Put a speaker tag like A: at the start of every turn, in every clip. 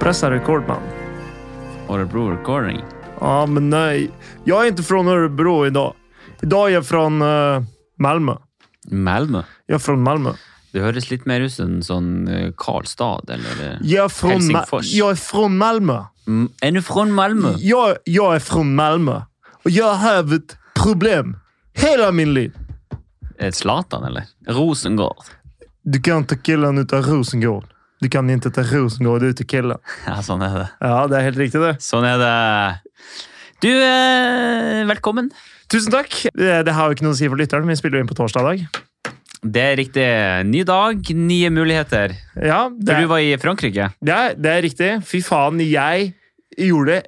A: Pressa rekord man.
B: Örebro recording.
A: Ja, men nej. Jag är inte från Örebro idag. Idag är jag från eh, Malmö.
B: Malmö.
A: Jag är från Malmö.
B: Det høres litt mer ut som en sånn eh, Karlstad, eller eh,
A: Jag är från, Ma-
B: Helsingfors.
A: jag är från Malmö.
B: M- Er du fra Malmö?
A: Jag, jag är från Malmö. Och jag har haft problem hela min liv.
B: Eh, Zlatan, eller? Rosengård.
A: Du kan ta killen utan Rosengård. Du kan inte ta Rosengård utan killen.
B: Ja, sånn er det.
A: Ja, det är helt riktigt det.
B: Sånn er det. Du, eh, velkommen.
A: Tusen takk. Eh, Det har jo ikke noe å si for lytteren. Vi spiller jo inn på torsdag i dag.
B: Det er riktig. Ny dag, nye muligheter.
A: Ja, det
B: For
A: er,
B: du var i Frankrike.
A: det, er, det er riktig. Fy faen, jeg gjorde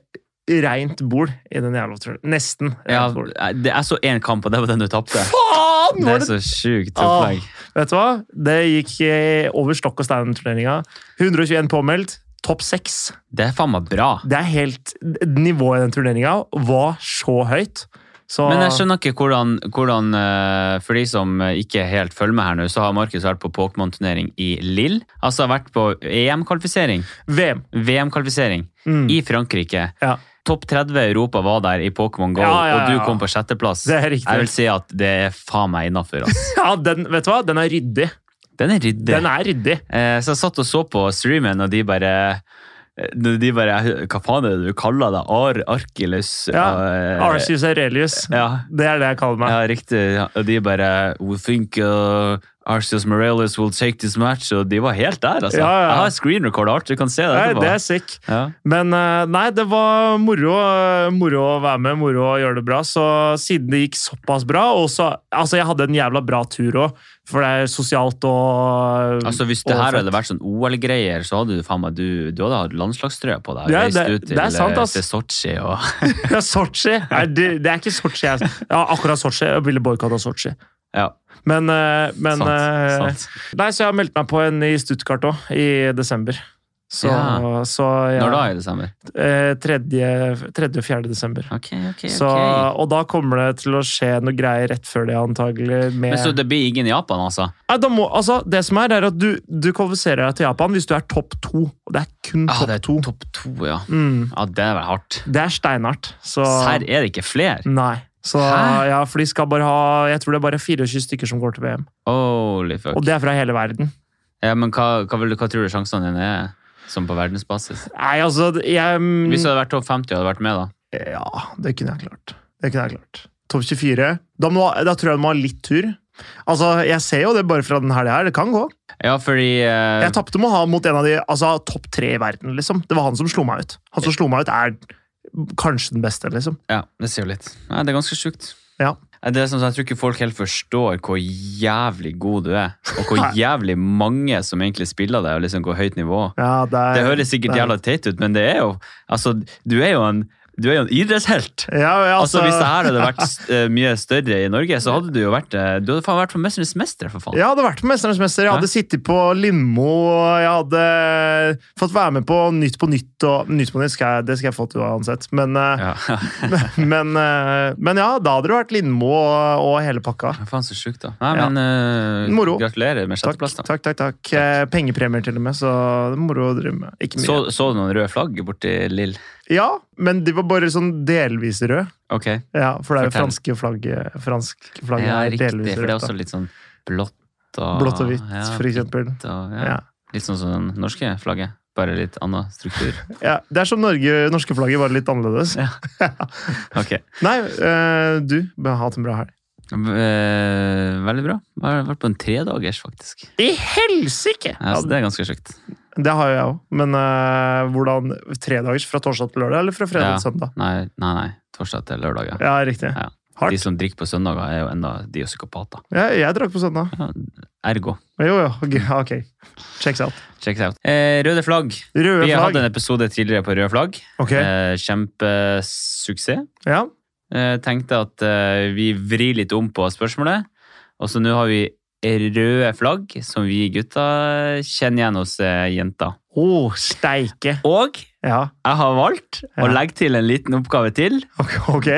A: reint bol i den jævla turen. Nesten.
B: Ja, eh,
A: rent bol.
B: det er så én kamp, og det var den du tapte.
A: Faen!
B: Det
A: Var det?
B: er
A: Ah,
B: så sjukt opplegg.
A: Vet du hva? Det gikk eh, over stokk og stein, den turneringa. 121 påmeldt. Topp seks.
B: Det er faen meg bra.
A: Det er helt Nivået i den turneringa var så høyt. Så
B: Men jeg skjønner ikke hvordan, hvordan eh, For de som eh, ikke helt følger med her nå, så har Markus vært på Pokémon-turnering i Lille. Altså vært på EM-kvalifisering.
A: VM.
B: VM-kvalifisering
A: Mm.
B: i Frankrike.
A: Ja.
B: Topp 30 i Europa var der i Pokémon Go,
A: Ja, ja,
B: og
A: ja.
B: du kom på sjetteplass.
A: Det er riktig.
B: Jeg vil si at det er faen meg innafor.
A: ja, den, vet du hva? Den er ryddig.
B: Den er ryddig.
A: Den er ryddig.
B: Eh, Så jeg satt og så på streamen, og de bare når de bare, Hva faen er det du kaller det? Ar Arkilus?
A: Ja,
B: eh,
A: Arcius Aurelius.
B: Ja,
A: Det er det jeg kaller meg.
B: ja, riktig. Ja, Og de bare We think uh, Arceus Morales will take this match. Og de var helt der, altså.
A: Ja, ja, ja.
B: Jeg har screen record art, du kan se det
A: Nei,
B: etterpå.
A: det er sick.
B: Ja.
A: Men eh, nei, det var moro, eh, moro å være med, moro å gjøre det bra. Så siden det gikk såpass bra og så, Altså, jeg hadde en jævla bra tur òg, for det er sosialt og eh,
B: Altså, hvis det
A: og
B: her
A: fett.
B: hadde vært sånn OL-greier, så hadde du faen meg du, du hadde hatt landslagstrøya på deg.
A: Ja,
B: Reist
A: det-
B: ut til, eh,
A: det er sant, ass.
B: til Sotsji og
A: Ja, Sotsji! Nei, det, det er ikke Sotsji. Jeg, ja, akkurat Sotsji. Jeg ville boikotta Sotsji.
B: Ja,
A: Men, eh, men
B: sant.
A: eh,
B: sant.
A: Nei, så jeg har meldt meg på en i Stuttgart òg, i desember. Så,
B: Ja.
A: så ja,
B: Når da i desember?
A: eh, tredje- tredje og fjerde desember.
B: Ok, ok,
A: Så,
B: ok.
A: og da kommer det til å skje noe greier rett før det, antagelig. Med...
B: Men så det blir ingen i Japan, altså?
A: Nei, da må, altså, det som er, er at du, du kvalifiserer deg til Japan hvis du er topp to. Og det er kun
B: Ah,
A: Mm, topp
B: det er
A: to.
B: topp to, ja.
A: Mm,
B: ja. Det er vel hardt.
A: det er steinhardt. Så Mm.
B: Serr, er det ikke flere?
A: Nei. Så,
B: Hæ?
A: ja, for de skal bare ha Jeg tror det er bare 24 stykker som går til VM.
B: Holy fuck.
A: Og det er fra hele verden.
B: Ja, men hva, hva, vil, du- hva tror du sjansene dine er, som på verdensbasis?
A: Nei, altså jeg,
B: Hvis du hadde vært topp 50 og hadde vært med, da?
A: Ja, det kunne jeg klart. Det kunne jeg klart. Topp 24. Da, må, da tror jeg du må ha litt tur. Altså, Jeg ser jo det bare fra den helga her. Det kan gå.
B: Ja, fordi eh,
A: Jeg tapte med å ha mot en av de altså, topp tre i verden. liksom. Det var han som slo meg ut. Han som slo meg ut, er kanskje den beste, liksom.
B: Ja, det sier jo litt. Nei, det er ganske sjukt.
A: Ja.
B: Nei, Det er sånn, at Jeg tror ikke folk helt forstår hvor jævlig god du er, og hvor
A: Nei.
B: jævlig mange som egentlig spiller deg, og liksom går høyt nivå.
A: Ja, det, er,
B: Det høres sikkert jævla teit ut, men det er jo Altså, du er jo en, du er jo en idrettshelt!
A: ja, ja, altså,
B: Altså, Hvis det her hadde vært eh, mye større i Norge, så hadde du jo vært eh, Du hadde faen vært på Mesternes mester, for faen.
A: Jeg hadde vært på Mesternes mester. Jeg hadde sittet på Lindmo. og Jeg hadde fått være med på Nytt på nytt. og Nytt på nytt skal jeg, det skal jeg få til uansett. Men, eh,
B: Ja.
A: men, eh, men ja, da hadde det vært Lindmo og, og hele pakka.
B: Ja, Faen, så sjukt, da. Nei,
A: Ja.
B: men eh,
A: Moro.
B: Gratulerer med
A: Takk,
B: sjetteplass, da.
A: takk, takk. takk. Eh, Pengepremier til og med, så det er moro å drive med. Ikke mye.
B: Så, så du noen røde flagg borti Lill?
A: Ja, men de var bare sånn delvis røde.
B: Ok,
A: Ja, for det er jo
B: Fortell.
A: franske flagget. Fransk flagget
B: ja,
A: er
B: riktig.
A: delvis
B: For det er
A: rødt,
B: også
A: da.
B: litt sånn blått og
A: Blått og hvitt,
B: ja,
A: for eksempel.
B: hvitt og- ja.
A: Ja.
B: Litt sånn som det norske flagget, bare litt annen struktur.
A: Ja, det er som Norge, norske flagget, bare litt annerledes.
B: Ja. Ok,
A: Nei, eh, du bør ha hatt en bra helg.
B: Eh, Veldig bra. Jeg har vært på en tredagers, faktisk.
A: I helsike!
B: Ja,
A: Ja,
B: så det er ganske sjukt.
A: det har jo jeg òg. Men eh, hvordan Tredagers fra torsdag til lørdag, eller fra fredag
B: Ja.
A: til søndag?
B: Nei, nei, nei. torsdag til lørdag. Ja.
A: Ja, riktig.
B: Ja.
A: Hardt.
B: De som drikker på søndager, er jo enda de er psykopater.
A: Jeg, jeg drakk på søndag.
B: Ergo.
A: Jo, jo. ok, Ok. Checks out.
B: Check it out. Eh, røde flagg.
A: Røde
B: Vi har hatt
A: flagg.
B: en episode tidligere på røde flagg.
A: Ok.
B: Eh, Kjempesuksess.
A: Ja.
B: Eh, tenkte at eh, vi vrir litt om på spørsmålet. Og så nå har vi røde flagg, som vi gutta kjenner igjen hos eh, jenta.
A: Å, steike.
B: Og
A: Ja.
B: jeg har valgt
A: Ja.
B: å legge til en liten oppgave til.
A: Ok. ok.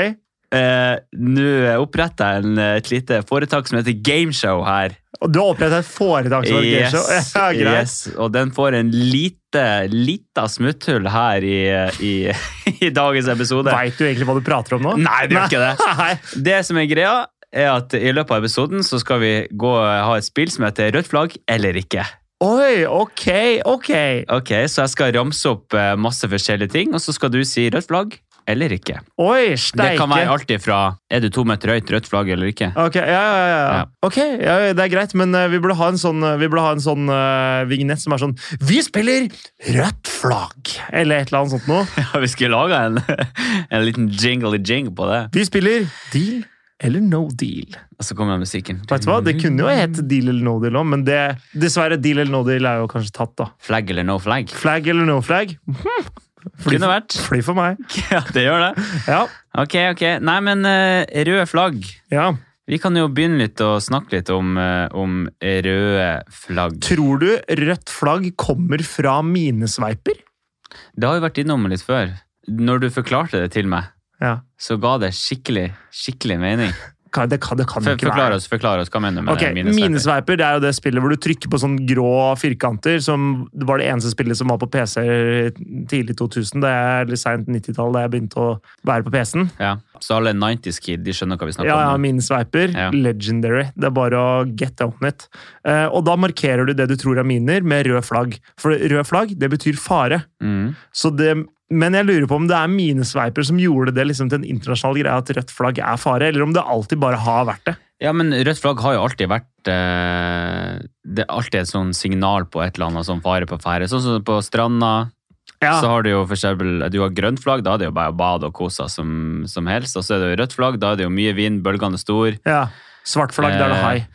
B: eh, nå oppretta jeg en, eh, et lite foretak som heter Gameshow her.
A: Og du har opprettet et foretak som yes,
B: Yes,
A: Ja, greit.
B: yes, og den får en lite, lita smutthull her i, i, i dagens episode.
A: Veit du egentlig hva du prater om nå?
B: Nei, det gjør ikke det.
A: Nei.
B: Det som er greia, er at i løpet av episoden så skal vi gå og ha et spill som heter Rødt flagg eller ikke.
A: Oi, ok, ok.
B: Ok, Så jeg skal ramse opp eh, masse forskjellige ting, og så skal du si rødt flagg eller ikke.
A: Oi,
B: Det
A: steike.
B: kan være alt ifra er du to meter høyt, rødt flagg eller ikke.
A: Ok, ja, ja, ja. ja.
B: Ja.
A: Ok, ja, ja, det er greit, men eh, vi burde ha en sånn, eh, vi burde ha en sånn eh, vignett som er sånn Vi spiller rødt flagg! Eller et eller annet sånt noe.
B: Ja, vi skulle laga en, en liten jingle-jing på det.
A: Vi spiller deal eller no deal.
B: Og så kommer den musikken.
A: Vet du hva? Det kunne jo hett deal eller no deal òg, men det, dessverre, deal eller no deal er jo kanskje tatt, da.
B: Flagg eller no flagg.
A: Flagg eller no flagg? Mhm. Fly,
B: Kunne vært.
A: fly for meg.
B: Ja, det gjør det.
A: Ja.
B: Ok, ok. Nei, men eh, røde flagg.
A: ja.
B: Vi kan jo begynne litt å snakke litt om, eh, om røde flagg.
A: Tror du rødt flagg kommer fra minesveiper?
B: Det har vi vært innom litt før. Når du forklarte det til meg,
A: Ja.
B: så ga det skikkelig, skikkelig mening.
A: Kan- Det kan, det kan
B: For,
A: ikke være.
B: forklar oss, forklar oss, hva mener du med
A: Ok,
B: det? minesveiper?
A: Minesveiper det er jo det spillet hvor du trykker på sånne grå firkanter. som Det var det eneste spillet som var på PC tidlig 2000, det er, eller seint 90-tall, da jeg begynte å være på PC-en.
B: Ja. Så alle 90's kid, de skjønner hva vi snakker
A: Ja, ja,
B: om.
A: minesveiper.
B: Ja.
A: Legendary. Det er bare å get on it. Eh, og da markerer du det du tror er miner, med rød flagg. For rød flagg, det betyr fare.
B: Mm.
A: Så det, men jeg lurer på om det er minesveiper som gjorde det liksom, til en internasjonal greie at rødt flagg er fare, eller om det alltid bare har vært det.
B: Ja, men rødt flagg har jo alltid vært eh, Det er alltid et sånn signal på et eller annet som fare på ferde. Sånn som på stranda,
A: Ja,
B: så har du jo for eksempel Du har grønt flagg, da er det jo bare bad og kosa som, som helst. Og så er det jo rødt flagg, da er det jo mye vind, bølgene er stor.
A: ja. Svart flagg, da er det hai.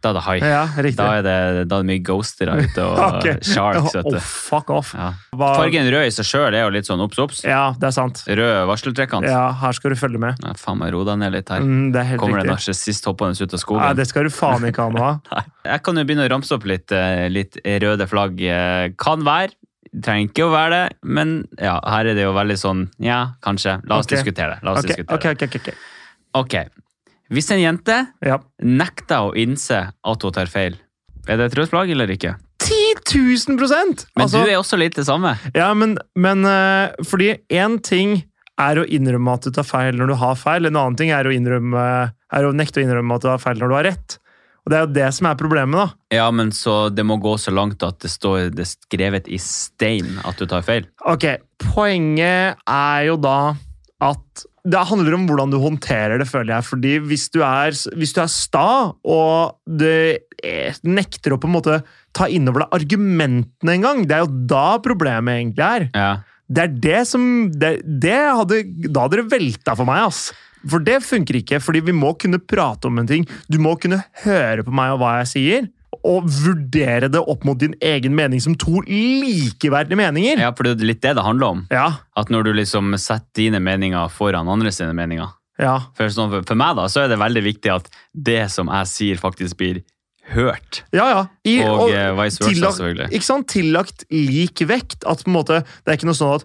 B: Da er det hai.
A: Ja, riktig.
B: Eh, Da er det, da er det mye ghostere ute og
A: Ok.
B: sharks, vet
A: Oh,
B: du.
A: fuck off.
B: Ja.
A: Hva-
B: Fargen rød i seg sjøl er jo litt sånn obs, obs.
A: Ja, det er sant.
B: Rød varseltrekant.
A: Ja, her skal du følge med.
B: Ja, faen meg, ro deg ned litt her.
A: Mm, det er helt
B: Kommer det en
A: riktig.
B: narsissist hoppende ut av
A: Nei,
B: skogen?
A: det skal du faen ikke ha noe av.
B: Nei. Jeg kan jo begynne å ramse opp litt, eh, litt røde flagg. eh, Kan være. Trenger ikke å være det, men ja, her er det jo veldig sånn Ja, kanskje. La oss
A: Ok.
B: diskutere det. La oss
A: Ok,
B: diskutere
A: ok, ok. ok, ok.
B: det. Ok. Hvis en jente
A: Ja.
B: nekter å innse at hun tar feil, er det et rødt flagg eller ikke?
A: 10 000
B: Men
A: Altså-
B: du er også litt det samme.
A: Ja, men, men eh, fordi én ting er å innrømme at du tar feil når du har feil, en annen ting er å, innrømme, er å nekte å innrømme at du har feil når du har rett. Og det er jo det som er problemet, da.
B: Ja, men så det må gå så langt at det står det er skrevet i stein at du tar feil.
A: Ok, Poenget er jo da at det handler om hvordan du håndterer det, føler jeg. Fordi hvis du er, hvis du er sta og det eh, nekter å på en måte ta innover deg argumentene en gang, det er jo da problemet egentlig er.
B: Ja.
A: Det er det som det, det hadde, Da hadde det velta for meg, ass. For det funker ikke, fordi vi må kunne prate om en ting. Du må kunne høre på meg og hva jeg sier, og vurdere det opp mot din egen mening som to likeverdige meninger.
B: ja, for det er jo litt det det handler om.
A: Ja,
B: At når du liksom setter dine meninger foran andre sine meninger.
A: ja.
B: For, sånn, for, for meg da, så er det veldig viktig at det som jeg sier faktisk blir hørt.
A: Ja, ja. I,
B: Og, eh, vice versa,
A: tillagt-
B: selvfølgelig.
A: Ikke sant? Tillagt lik vekt. At på en måte, det er ikke noe sånn at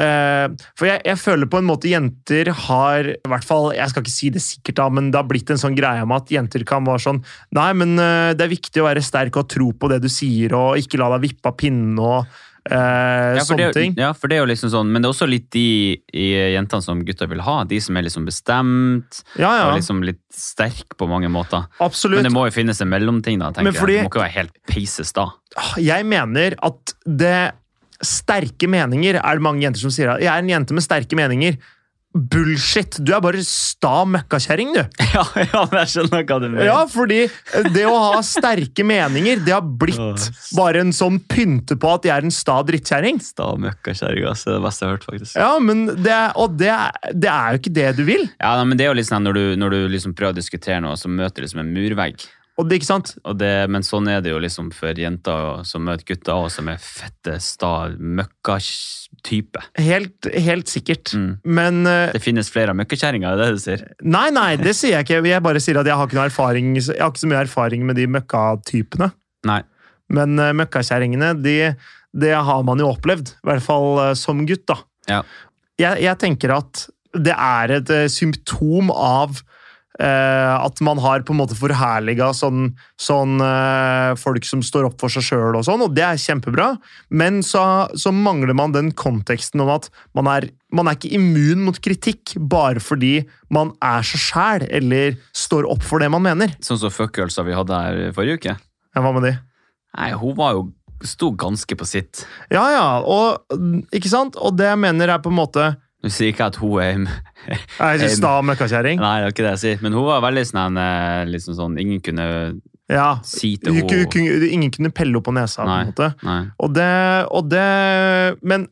A: eh, For jeg, jeg føler på en måte jenter har i hvert fall, Jeg skal ikke si det sikkert, da, men det har blitt en sånn greie om at jenter kan være sånn Nei, men eh, det er viktig å være sterk og tro på det du sier, og ikke la deg vippe av pinnen og eh,
B: Ja, for
A: sånne
B: det, er jo-
A: ting.
B: ja, for det er jo liksom sånn, men det er også litt de i jentene som gutter vil ha. De som er liksom bestemt,
A: Ja, ja.
B: og liksom litt sterk på mange måter.
A: absolutt.
B: Men det må jo finnes en mellomting da, tenker
A: Men fordi-
B: jeg. Det må ikke være helt peises da.
A: Ah, jeg mener at det Sterke meninger er det mange jenter som sier. at, Jeg er en jente med sterke meninger. Bullshit! Du er bare sta møkkakjerring, du.
B: Ja, ja, men jeg skjønner hva du mener.
A: Ja, fordi det å ha sterke meninger, det har blitt bare en sånn pynte på at jeg er en sta drittkjerring.
B: Sta møkkakjerringa, så det er det beste jeg har hørt, faktisk. Ja,
A: Ja, men det, og det, er- det er jo ikke det du vil.
B: nei, men det er jo liksom når du, når du liksom prøver å diskutere noe, så møter du liksom en murvegg.
A: Og det, ikke sant?
B: Og det, men sånn er det jo liksom for jenter som møter gutter, og som er fette, sta, møkkatype.
A: Helt, helt sikkert.
B: Mm.
A: Men eh,
B: Det finnes flere møkkakjerringer, er det det du sier?
A: Nei, nei, det sier jeg ikke. Jeg bare sier at jeg har ikke, noe erfaring, jeg har ikke så mye erfaring med de møkkatypene.
B: Nei.
A: Men uh, møkkakjerringene, de- det har man jo opplevd. I hvert fall eh, som gutt, da.
B: Ja.
A: Jeg, jeg tenker at det er et eh, symptom av eh, at man har på en måte forherliga sånn, sånn eh, folk som står opp for seg sjøl og sånn, og det er kjempebra, men så, så mangler man den konteksten om at man er, man er ikke immun mot kritikk bare fordi man er seg sjæl eller står opp for det man mener.
B: Sånn som fuckgirlsa vi hadde her forrige uke.
A: Ja, hva med de?
B: Nei, hun var jo Sto ganske på sitt.
A: Ja, ja, og ikke sant? Og det jeg mener er på en måte
B: Nå sier ikke jeg at hun er
A: Er det sta møkkakjerring?
B: Nei, det var ikke det jeg sier. Men hun var veldig sånn, eh, liksom sånn Ingen kunne
A: Ja.
B: si til
A: Du ku-
B: henne
A: kunne- Ingen kunne pelle opp på nesa, på en måte.
B: Nei.
A: Og det, og det Men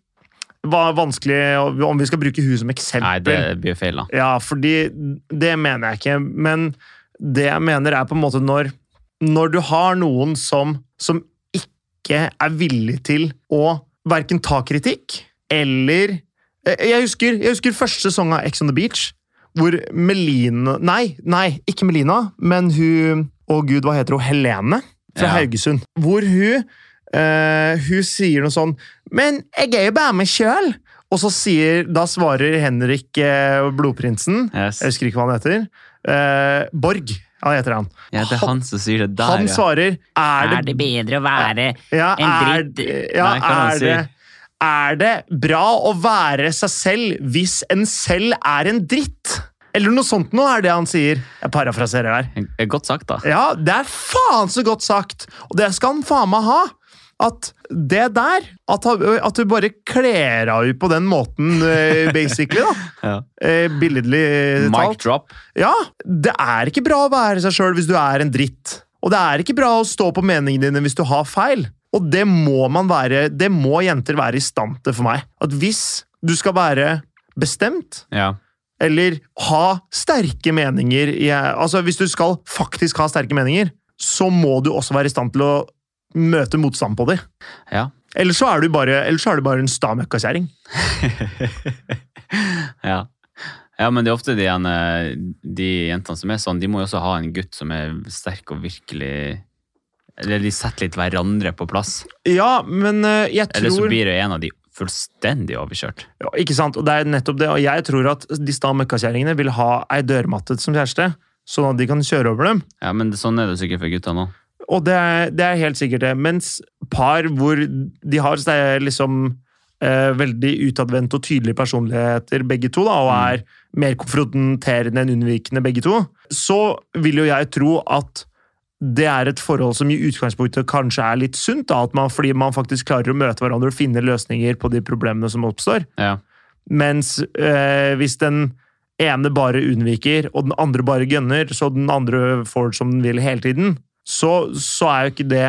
A: var vanskelig om vi skal bruke hun som eksempel.
B: Nei, det blir feil, da.
A: Ja, fordi det mener jeg ikke. Men det jeg mener er på en måte når, når du har noen som, som ikke er villig til å verken ta kritikk eller Eh, Jeg husker, jeg husker første sesong av Ex on the Beach, hvor Melina Nei, nei, ikke Melina, men hun Å gud, hva heter hun? Helene fra
B: Ja.
A: Haugesund. Hvor hun eh, Hun sier noe sånn Men jeg er jo bare meg sjøl! Og så sier, da svarer Henrik eh, Blodprinsen
B: Yes.
A: Jeg husker ikke hva han heter. Eh, Borg, ja, heter han.
B: Ja, det er han som sier det der,
A: han
B: ja.
A: svarer Er det,
B: bedre å være
A: ja, er,
B: en dritt?
A: ja,
B: Nei, hva er
A: er
B: det
A: det
B: han
A: Er det bra å være seg selv hvis en selv er en dritt? Eller noe sånt noe er det han sier. Jeg parafraserer her.
B: Eh, Godt sagt, da.
A: Ja, det er faen så godt sagt! Og det skal han faen meg ha! At det der At, han- at du bare kler av henne på den måten, eh, basically, da.
B: Ja.
A: Eh, Billedlig
B: Mic
A: talt.
B: drop.
A: Ja, det er ikke bra å være seg sjøl hvis du er en dritt. Og det er ikke bra å stå på meningene dine hvis du har feil. Og det må, man være, det må jenter være i stand til for meg. At hvis du skal være bestemt,
B: Ja.
A: eller ha sterke meninger i, Altså, hvis du skal faktisk ha sterke meninger, så må du også være i stand til å møte motstand på dem.
B: Ja.
A: Ellers så er du bare, ellers så er du bare en sta møkkakjerring.
B: ja. Ja, men det er ofte de, ene- de jentene som er sånn, de må jo også ha en gutt som er sterk og virkelig Eller de setter litt hverandre på plass.
A: Ja, men eh, jeg tror
B: Eller så blir det en av de fullstendig overkjørt.
A: Ja, ikke sant? Og det er nettopp det. Og jeg tror at de sta møkkakjerringene vil ha ei dørmatte som kjæreste, sånn at de kan kjøre over dem.
B: Ja, men sånn er det sikkert for gutta nå.
A: Og det er, det er helt sikkert det. Mens par hvor de har så det er liksom eh, veldig utadvendte og tydelige personligheter, begge to, da, og er mer konfronterende enn unnvikende, begge to, så vil jo jeg tro at det er et forhold som i utgangspunktet kanskje er litt sunt, da, at man, fordi man faktisk klarer å møte hverandre og finne løsninger på de problemene som oppstår.
B: Ja.
A: Mens eh, hvis den ene bare unnviker, og den andre bare gønner, så den andre får det som den vil hele tiden, så, så er jo ikke det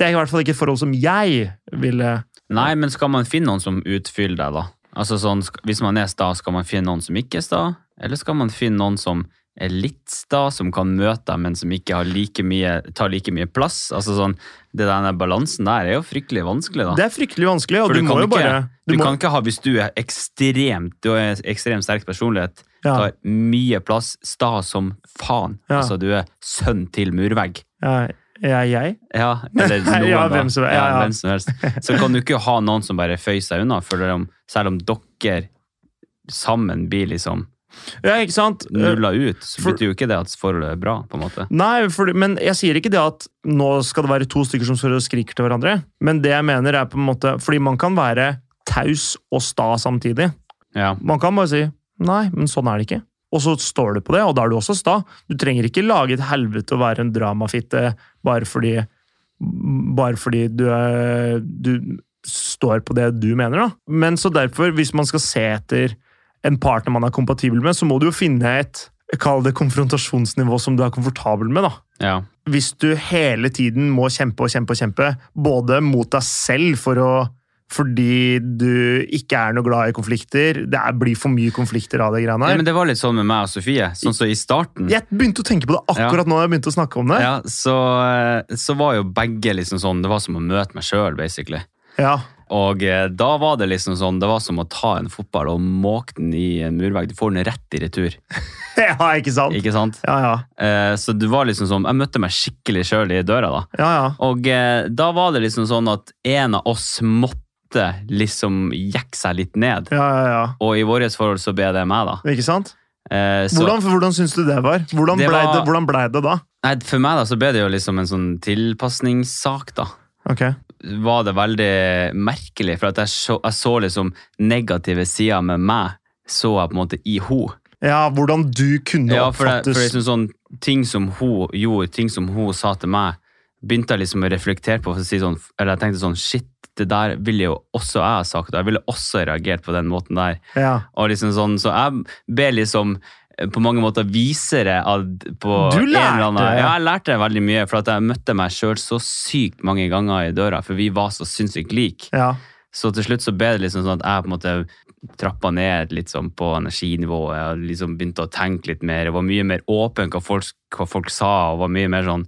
A: Det er i hvert fall ikke et forhold som jeg ville
B: Nei, men skal man finne noen som utfyller deg, da? Altså sånn, sk- Hvis man er sta, skal man finne noen som ikke er sta? Eller skal man finne noen som er litt sta, som kan møte deg, men som ikke har like mye, tar like mye plass? Altså sånn, det der- Den balansen der er jo fryktelig vanskelig, da.
A: Det er fryktelig vanskelig, og
B: For
A: du,
B: du
A: må
B: kan
A: jo
B: ikke-
A: bare
B: du
A: må,
B: kan ikke ha, hvis du er ekstremt, du er ekstremt sterk personlighet,
A: ja,
B: tar mye plass, sta som faen.
A: Ja.
B: Altså, du er sønn til murvegg.
A: ja, ja, jeg?
B: Ja, eller
A: Ja,
B: noen da.
A: hvem som- ja, ja.
B: hvem som helst. Så kan du ikke ha noen som bare føyer seg unna, for om, selv om dere sammen blir liksom
A: Ja, ikke sant?
B: nulla ut, så
A: Eh, For-
B: betyr jo ikke det at forholdet er bra, på en måte.
A: Nei, for, men jeg sier ikke det at nå skal det være to stykker som står og skriker til hverandre. Men det jeg mener er på en måte Fordi man kan være taus og sta samtidig.
B: Ja,
A: Man kan bare si nei, men sånn er det ikke. Og så står du på det, og da er du også sta. Du trenger ikke lage et helvete og være en dramafitte bare fordi, bare fordi du, er, du står på det du mener. Da. Men så derfor, hvis man skal se etter en partner man er kompatibel med, så må du jo finne et kall det konfrontasjonsnivå som du er komfortabel med. da
B: ja.
A: hvis du hele tiden må kjempe og kjempe og kjempe, både mot deg selv for å fordi du ikke er noe glad i konflikter. Det er, blir for mye konflikter av det greiene
B: Nei,
A: her.
B: men det var litt sånn med meg og Sofie. Sånn som i starten.
A: Jeg begynte å tenke på det akkurat nå jeg begynte å snakke om det.
B: Ja, så, så var jo begge liksom sånn Det var som å møte meg sjøl, basically.
A: Ja.
B: Og eh, da var det liksom sånn Det var som å ta en fotball og måke den i en murvegg. Du får den rett i retur,
A: ja, ikke sant?
B: ikke sant?
A: Ja, ja.
B: Eh, så du var liksom sånn, jeg møtte meg skikkelig sjøl i døra da.
A: Ja, ja.
B: Og eh, da var det liksom sånn at en av oss måtte måtte liksom jekke seg litt ned.
A: Ja, ja, ja.
B: Og i vårt forhold så ble det meg, da.
A: Ikke sant?
B: Eh, så,
A: Hvordan, hvordan syns du det var? Hvordan
B: Det
A: blei
B: var-
A: det, hvordan ble det da?
B: Nei, for meg da, så ble det jo liksom en sånn tilpasningssak, da.
A: Ok.
B: Var det veldig merkelig, for at jeg så, jeg så liksom negative sider med meg, så jeg på en måte i henne.
A: Ja, hvordan du kunne
B: Ja, for, det,
A: oppfattes
B: for liksom sånn, ting som hun gjorde, ting som hun sa til meg, begynte jeg liksom å reflektere på, for å si sånn, eller jeg tenkte sånn, shit, det der ville jo også jeg ha sagt, og jeg ville også reagert på den måten der.
A: ja.
B: Og liksom sånn, så jeg ble liksom eh, på mange måter visere av, på
A: Du
B: en eller
A: lærte,
B: annen-
A: ja.
B: Ja, jeg lærte veldig mye, for at jeg møtte meg sjøl så sykt mange ganger i døra, for vi var så sinnssykt like.
A: ja.
B: Så til slutt så ble det liksom sånn at jeg på en måte trappa ned litt sånn på energinivået og liksom begynte å tenke litt mer. Jeg var mye mer åpen hva folk, hva folk sa, og var mye mer sånn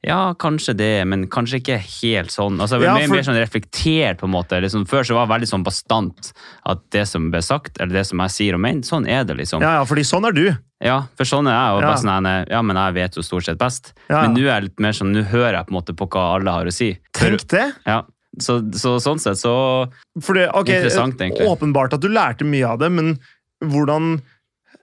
B: ja, kanskje det, men kanskje ikke helt sånn. Altså, jeg ble
A: Ja,
B: mye
A: for-
B: mer sånn reflektert, på en måte. Liksom, før så var jeg veldig sånn bastant at det som ble sagt, eller det som jeg sier og mener, sånn er det, liksom.
A: ja, ja, fordi sånn er du.
B: Ja, for sånn er jeg. Og
A: Ja.
B: bare sånn, nei, ja, men jeg vet jo stort sett best.
A: Ja.
B: Men nå er jeg litt mer sånn, nå hører jeg på en måte på hva alle har å si.
A: Tenk det!
B: Ja. Så, så sånn sett så
A: For det, ok,
B: Interessant, egentlig.
A: Åpenbart at du lærte mye av det, men hvordan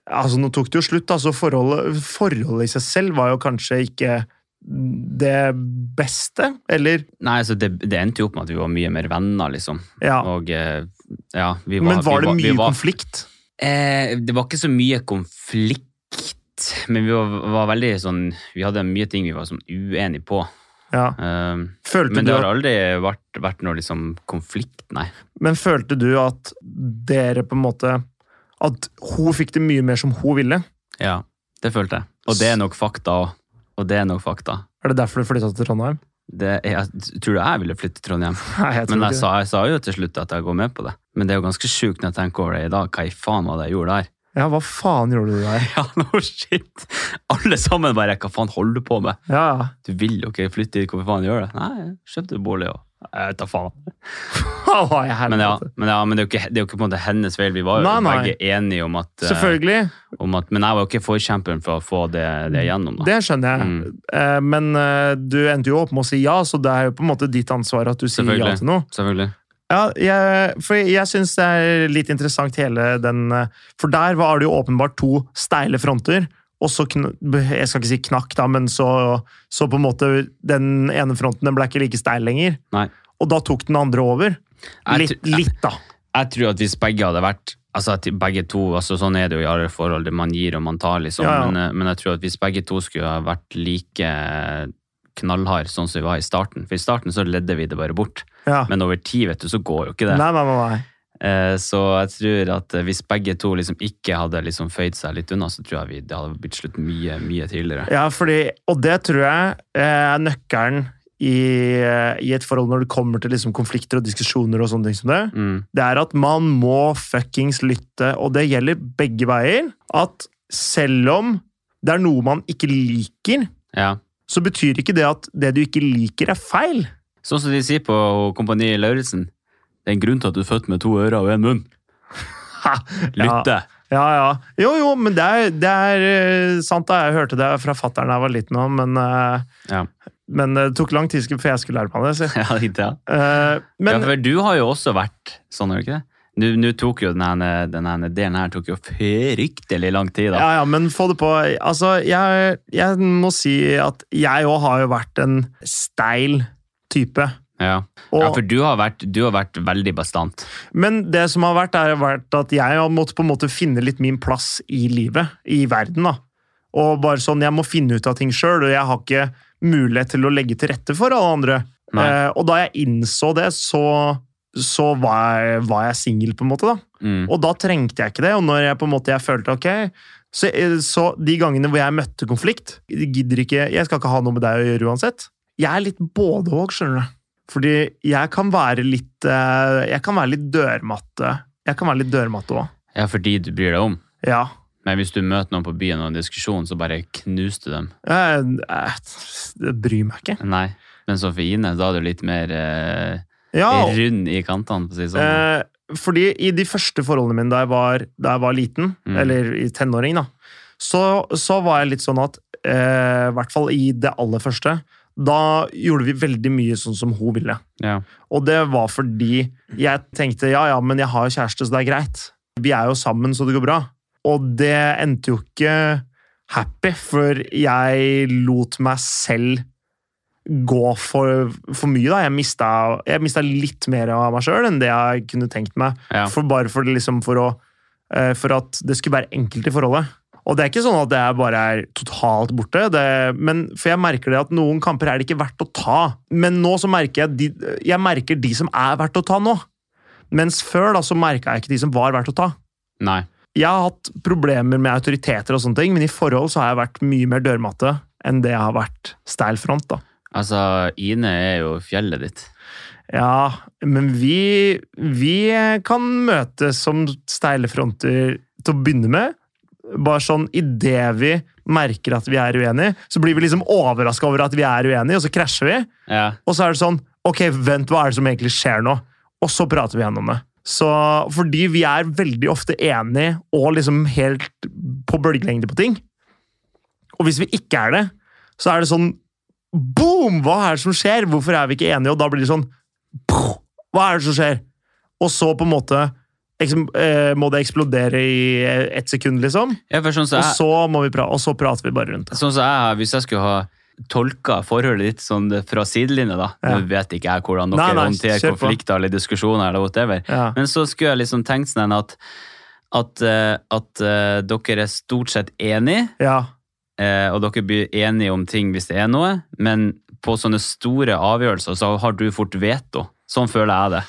A: altså Nå tok det jo slutt, altså forholdet, forholdet i seg selv var jo kanskje ikke det beste, eller?
B: Nei, så det, det endte jo opp med at vi var mye mer venner, liksom.
A: Ja.
B: Og eh, ja, vi var
A: Men var
B: vi
A: det
B: vi
A: mye
B: var,
A: konflikt?
B: Eh, det var ikke så mye konflikt, men vi var, var veldig sånn Vi hadde mye ting vi var sånn uenige på.
A: Ja.
B: Eh,
A: Følte
B: men
A: du
B: det
A: at
B: har aldri vært, vært noe liksom konflikt, nei.
A: Men følte du at dere på en måte At hun fikk det mye mer som hun ville?
B: Ja, det følte jeg. Og det er nok fakta òg. Og det er nok fakta.
A: Er det derfor du flytta til Trondheim?
B: Det, jeg, tror du jeg ville flytte til Trondheim?
A: Nei, jeg
B: Men altså-
A: tror
B: jeg
A: ikke det.
B: sa, jeg sa jo til slutt at jeg går med på det. Men det er jo ganske sjukt når jeg tenker over det i dag. Hva i faen var det jeg gjorde der?
A: Ja, hva faen gjorde du der?
B: Ja, no shit! Alle sammen bare Hva faen holder du på med?
A: Ja, ja.
B: Du vil jo ikke flytte hit, hvorfor faen gjør du det? Nei, jeg kjøpte bolig og Jeg vet da faen.
A: Hva var jeg her
B: Men ja,
A: med?
B: men, ja, men det, er jo ikke, det er jo ikke på en måte hennes feil. Vi var jo
A: Nei, nei.
B: begge enige om at, eh,
A: Selvfølgelig.
B: om at Men jeg var jo ikke forkjemperen for å få det, det gjennom. Da.
A: Det skjønner jeg.
B: Mm.
A: Eh, Men eh, du endte jo opp med å si ja, så det er jo på en måte ditt ansvar at du sier ja
B: Selvfølgelig.
A: til noe.
B: Selvfølgelig.
A: Ja, jeg, for jeg syns det er litt interessant hele den eh, For der var det jo åpenbart to steile fronter. Og så kn- Jeg skal ikke si knakk, da, men så, så på en måte Den ene fronten den ble ikke like steil lenger.
B: Nei.
A: Og da tok den andre over.
B: Jeg
A: Litt,
B: tr-
A: litt da.
B: jeg tror at hvis begge hadde vært Altså at begge to, altså Sånn er det jo i alle forhold. det Man gir og man tar, liksom.
A: Ja, ja.
B: Men, eh, men jeg tror at hvis begge to skulle ha vært like knallhard sånn som vi var i starten For i starten så ledde vi det bare bort.
A: Ja.
B: Men over tid vet du, så går jo ikke
A: Nei,
B: det.
A: nei, nei. nei.
B: Eh, Så jeg tror at eh, hvis begge to liksom ikke hadde liksom føyd seg litt unna, så tror jeg vi, det hadde blitt slutt mye, mye tidligere.
A: Ja, fordi, og det tror jeg eh, er nøkkelen i, eh, i et forhold når det kommer til liksom konflikter og diskusjoner og sånne ting som det.
B: Mm.
A: det er at man må fuckings lytte, og det gjelder begge veier. At selv om det er noe man ikke liker,
B: Ja.
A: så betyr ikke det at det du ikke liker, er feil.
B: Sånn som de sier på Kompani Lauritzen. Det er en grunn til at du er født med to ører og én munn.
A: Ha! Ja,
B: Lytte!
A: ja, ja. Jo, jo, men det er, det er eh, sant. da. Jeg hørte det fra fattern da jeg var liten òg, men, eh,
B: Ja.
A: men det tok lang tid før jeg skulle lære meg det. Så.
B: Ja, litt, ja.
A: Eh, men
B: ja, for du har jo også vært sånn, har du ikke det? Nå- Nå tok jo den her, den her delen her tok jo fryktelig lang tid, da.
A: Ja, ja, men få det på. Altså, jeg, jeg må si at jeg òg har jo vært en steil type.
B: Ja,
A: Og,
B: ja for du har, vært, du har vært veldig bastant.
A: Men det som har vært, er vært at jeg har måttet på en måte finne litt min plass i livet, i verden. da. Og bare sånn, Jeg må finne ut av ting sjøl, og jeg har ikke mulighet til å legge til rette for alle andre.
B: Nei.
A: Eh, og da jeg innså det, så, så var jeg, var jeg singel, på en måte. da.
B: Mm.
A: Og da trengte jeg ikke det. Og når jeg på en måte jeg følte ok, så, eh, så de gangene hvor jeg møtte konflikt Jeg gidder ikke, jeg skal ikke ha noe med deg å gjøre uansett. Jeg er litt både og, skjønner du. Fordi jeg kan være litt eh, Jeg kan være litt dørmatte. Jeg kan være litt dørmatte òg.
B: Ja, fordi du bryr deg om.
A: Ja.
B: Men hvis du møter noen på byen og en diskusjon, så bare knuste dem.
A: Jeg, jeg, jeg bryr meg ikke.
B: Nei. Men så for Ine, da er du litt mer eh,
A: Ja, og-
B: rund i kantene, for å si det sånn.
A: Eh, fordi i de første forholdene mine da jeg var, da jeg var liten,
B: Mm.
A: eller i tenåring, da, så, så var jeg litt sånn at eh, I hvert fall i det aller første. da gjorde vi veldig mye sånn som hun ville.
B: Ja.
A: Og det var fordi jeg tenkte ja, ja, men jeg har jo kjæreste, så det er greit. Vi er jo sammen, så det går bra. Og det endte jo ikke happy, for jeg lot meg selv gå for, for mye, da. Jeg mista, jeg mista litt mer av meg sjøl enn det jeg kunne tenkt meg.
B: Ja.
A: For bare for, det liksom for, å, eh, for at det skulle være enkelt i forholdet. Og det er ikke sånn at det er bare er totalt borte, det, men for jeg merker det at noen kamper er det ikke verdt å ta. Men nå så merker jeg de, jeg merker de som er verdt å ta nå. Mens før da så merka jeg ikke de som var verdt å ta.
B: Nei.
A: Jeg har hatt problemer med autoriteter, og sånne ting, men i forhold så har jeg vært mye mer dørmatte enn det jeg har vært steil front. da.
B: Altså, Ine er jo fjellet ditt.
A: Ja, men vi, vi kan møtes som steile fronter til å begynne med. Bare sånn idet vi merker at vi er uenige, så blir vi liksom overraska over at vi er uenige, og så krasjer vi.
B: Ja.
A: Og så er det sånn Ok, vent, hva er det som egentlig skjer nå? Og så prater vi gjennom det. Så, fordi vi er veldig ofte enige og liksom helt på bølgelengde på ting. Og hvis vi ikke er det, så er det sånn Boom! Hva er det som skjer? Hvorfor er vi ikke enige? Og da blir det sånn «Puh! Hva er det som skjer? Og så på en måte liksom, eh, må det eksplodere i eh, ett sekund, liksom.
B: Ja, for sånn som
A: Og
B: jeg,
A: så, må vi pra og så prater vi bare rundt det.
B: sånn som jeg Hvis jeg skulle ha tolka forholdet ditt sånn fra sidelinja, da
A: Ja.
B: Nå vet ikke jeg hvordan dere
A: Nei, nei,
B: håndterer
A: kjør på.
B: konflikter eller diskusjoner eller whatever,
A: Ja.
B: men så skulle jeg liksom tenkt sånn at at, eh, at eh, dere er stort sett enige,
A: ja.
B: eh, og dere blir enige om ting hvis det er noe, men på sånne store avgjørelser så har du fort veto. Sånn føler jeg det.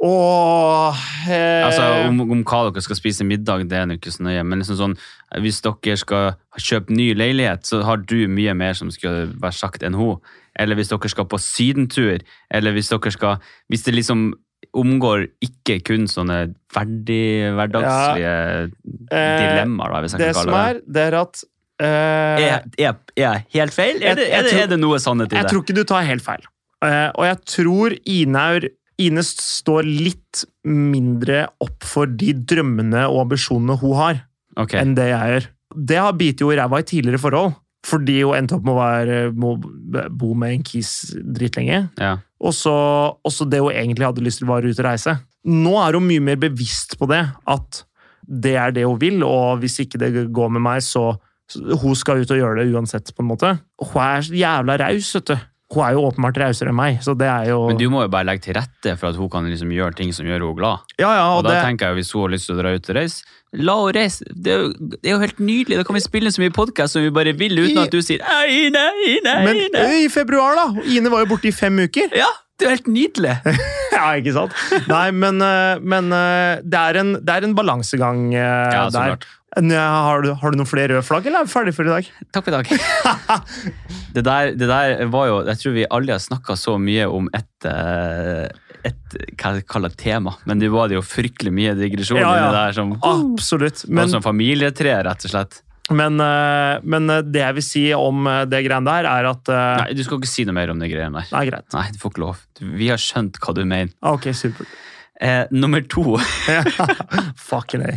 A: Åh eh,
B: Altså, om, om hva dere skal spise middag, det er nå ikke så nøye, men liksom sånn, hvis dere skal kjøpe ny leilighet, så har du mye mer som skal være sagt enn hun. Eller hvis dere skal på sydentur, eller hvis dere skal Hvis det liksom omgår ikke kun sånne ferdig hverdagslige dilemmaer, da, hvis jeg
A: Eh, Det
B: kan
A: som
B: kalle
A: er,
B: det
A: det er at eh,
B: Er, er, er jeg helt feil?
A: Jeg-
B: Er det,
A: jeg
B: er det,
A: tror-
B: er det noe sannhet i
A: Jeg
B: det?
A: tror ikke du tar helt feil. Eh, og jeg tror Inaur Ine står litt mindre opp for de drømmene og ambisjonene hun har,
B: Ok,
A: enn det jeg gjør. Det har bitt jo i ræva i tidligere forhold, fordi hun endte opp med å være, må bo med en kis dritlenge.
B: ja.
A: Og så og så det hun egentlig hadde lyst til, var ut og reise. Nå er hun mye mer bevisst på det, at det er det hun vil, og hvis ikke det går med meg, så så hun skal ut og gjøre det uansett, på en måte. Hun er så jævla raus, vet du. Hun er jo åpenbart rausere enn meg, så det er jo
B: Men du må jo bare legge til rette for at hun kan liksom gjøre ting som gjør henne glad.
A: Ja, ja,
B: Og
A: og
B: da
A: det...
B: tenker jeg Hvis hun har lyst til å dra ut og reise, la henne reise. Det er, jo, det er jo helt nydelig. Da kan vi spille så mye podkast som vi bare vil, uten at du sier «Ei, Ine, Ine,
A: Men
B: Ine.
A: øy, i februar, da! Ine var jo borte i fem uker.
B: Ja, det er jo helt nydelig.
A: Ja, ikke sant? Nei, men, øh, men øh, det er en, det er en balansegang øh,
B: Ja, så
A: der.
B: klart.
A: Nå, Har du, har du noen flere røde flagg, eller er vi ferdige for i dag?
B: Takk for i dag. det, der, det der var jo Jeg tror vi aldri har snakka så mye om et, eh, et hva jeg kaller det, tema, men det var det jo fryktelig mye digresjon
A: Ja, ja.
B: inni der. Som,
A: Absolutt. Men
B: og som familietre, rett og slett.
A: Men, eh, men eh, det jeg vil si om eh, det greiene der, er at eh,
B: Nei, Du skal ikke si noe mer om de greiene der.
A: Nei, greit.
B: Nei, du får ikke lov. Du- Vi har skjønt hva du mener.
A: Ah, Ok, supert.
B: Eh, nummer to.
A: Fucking A.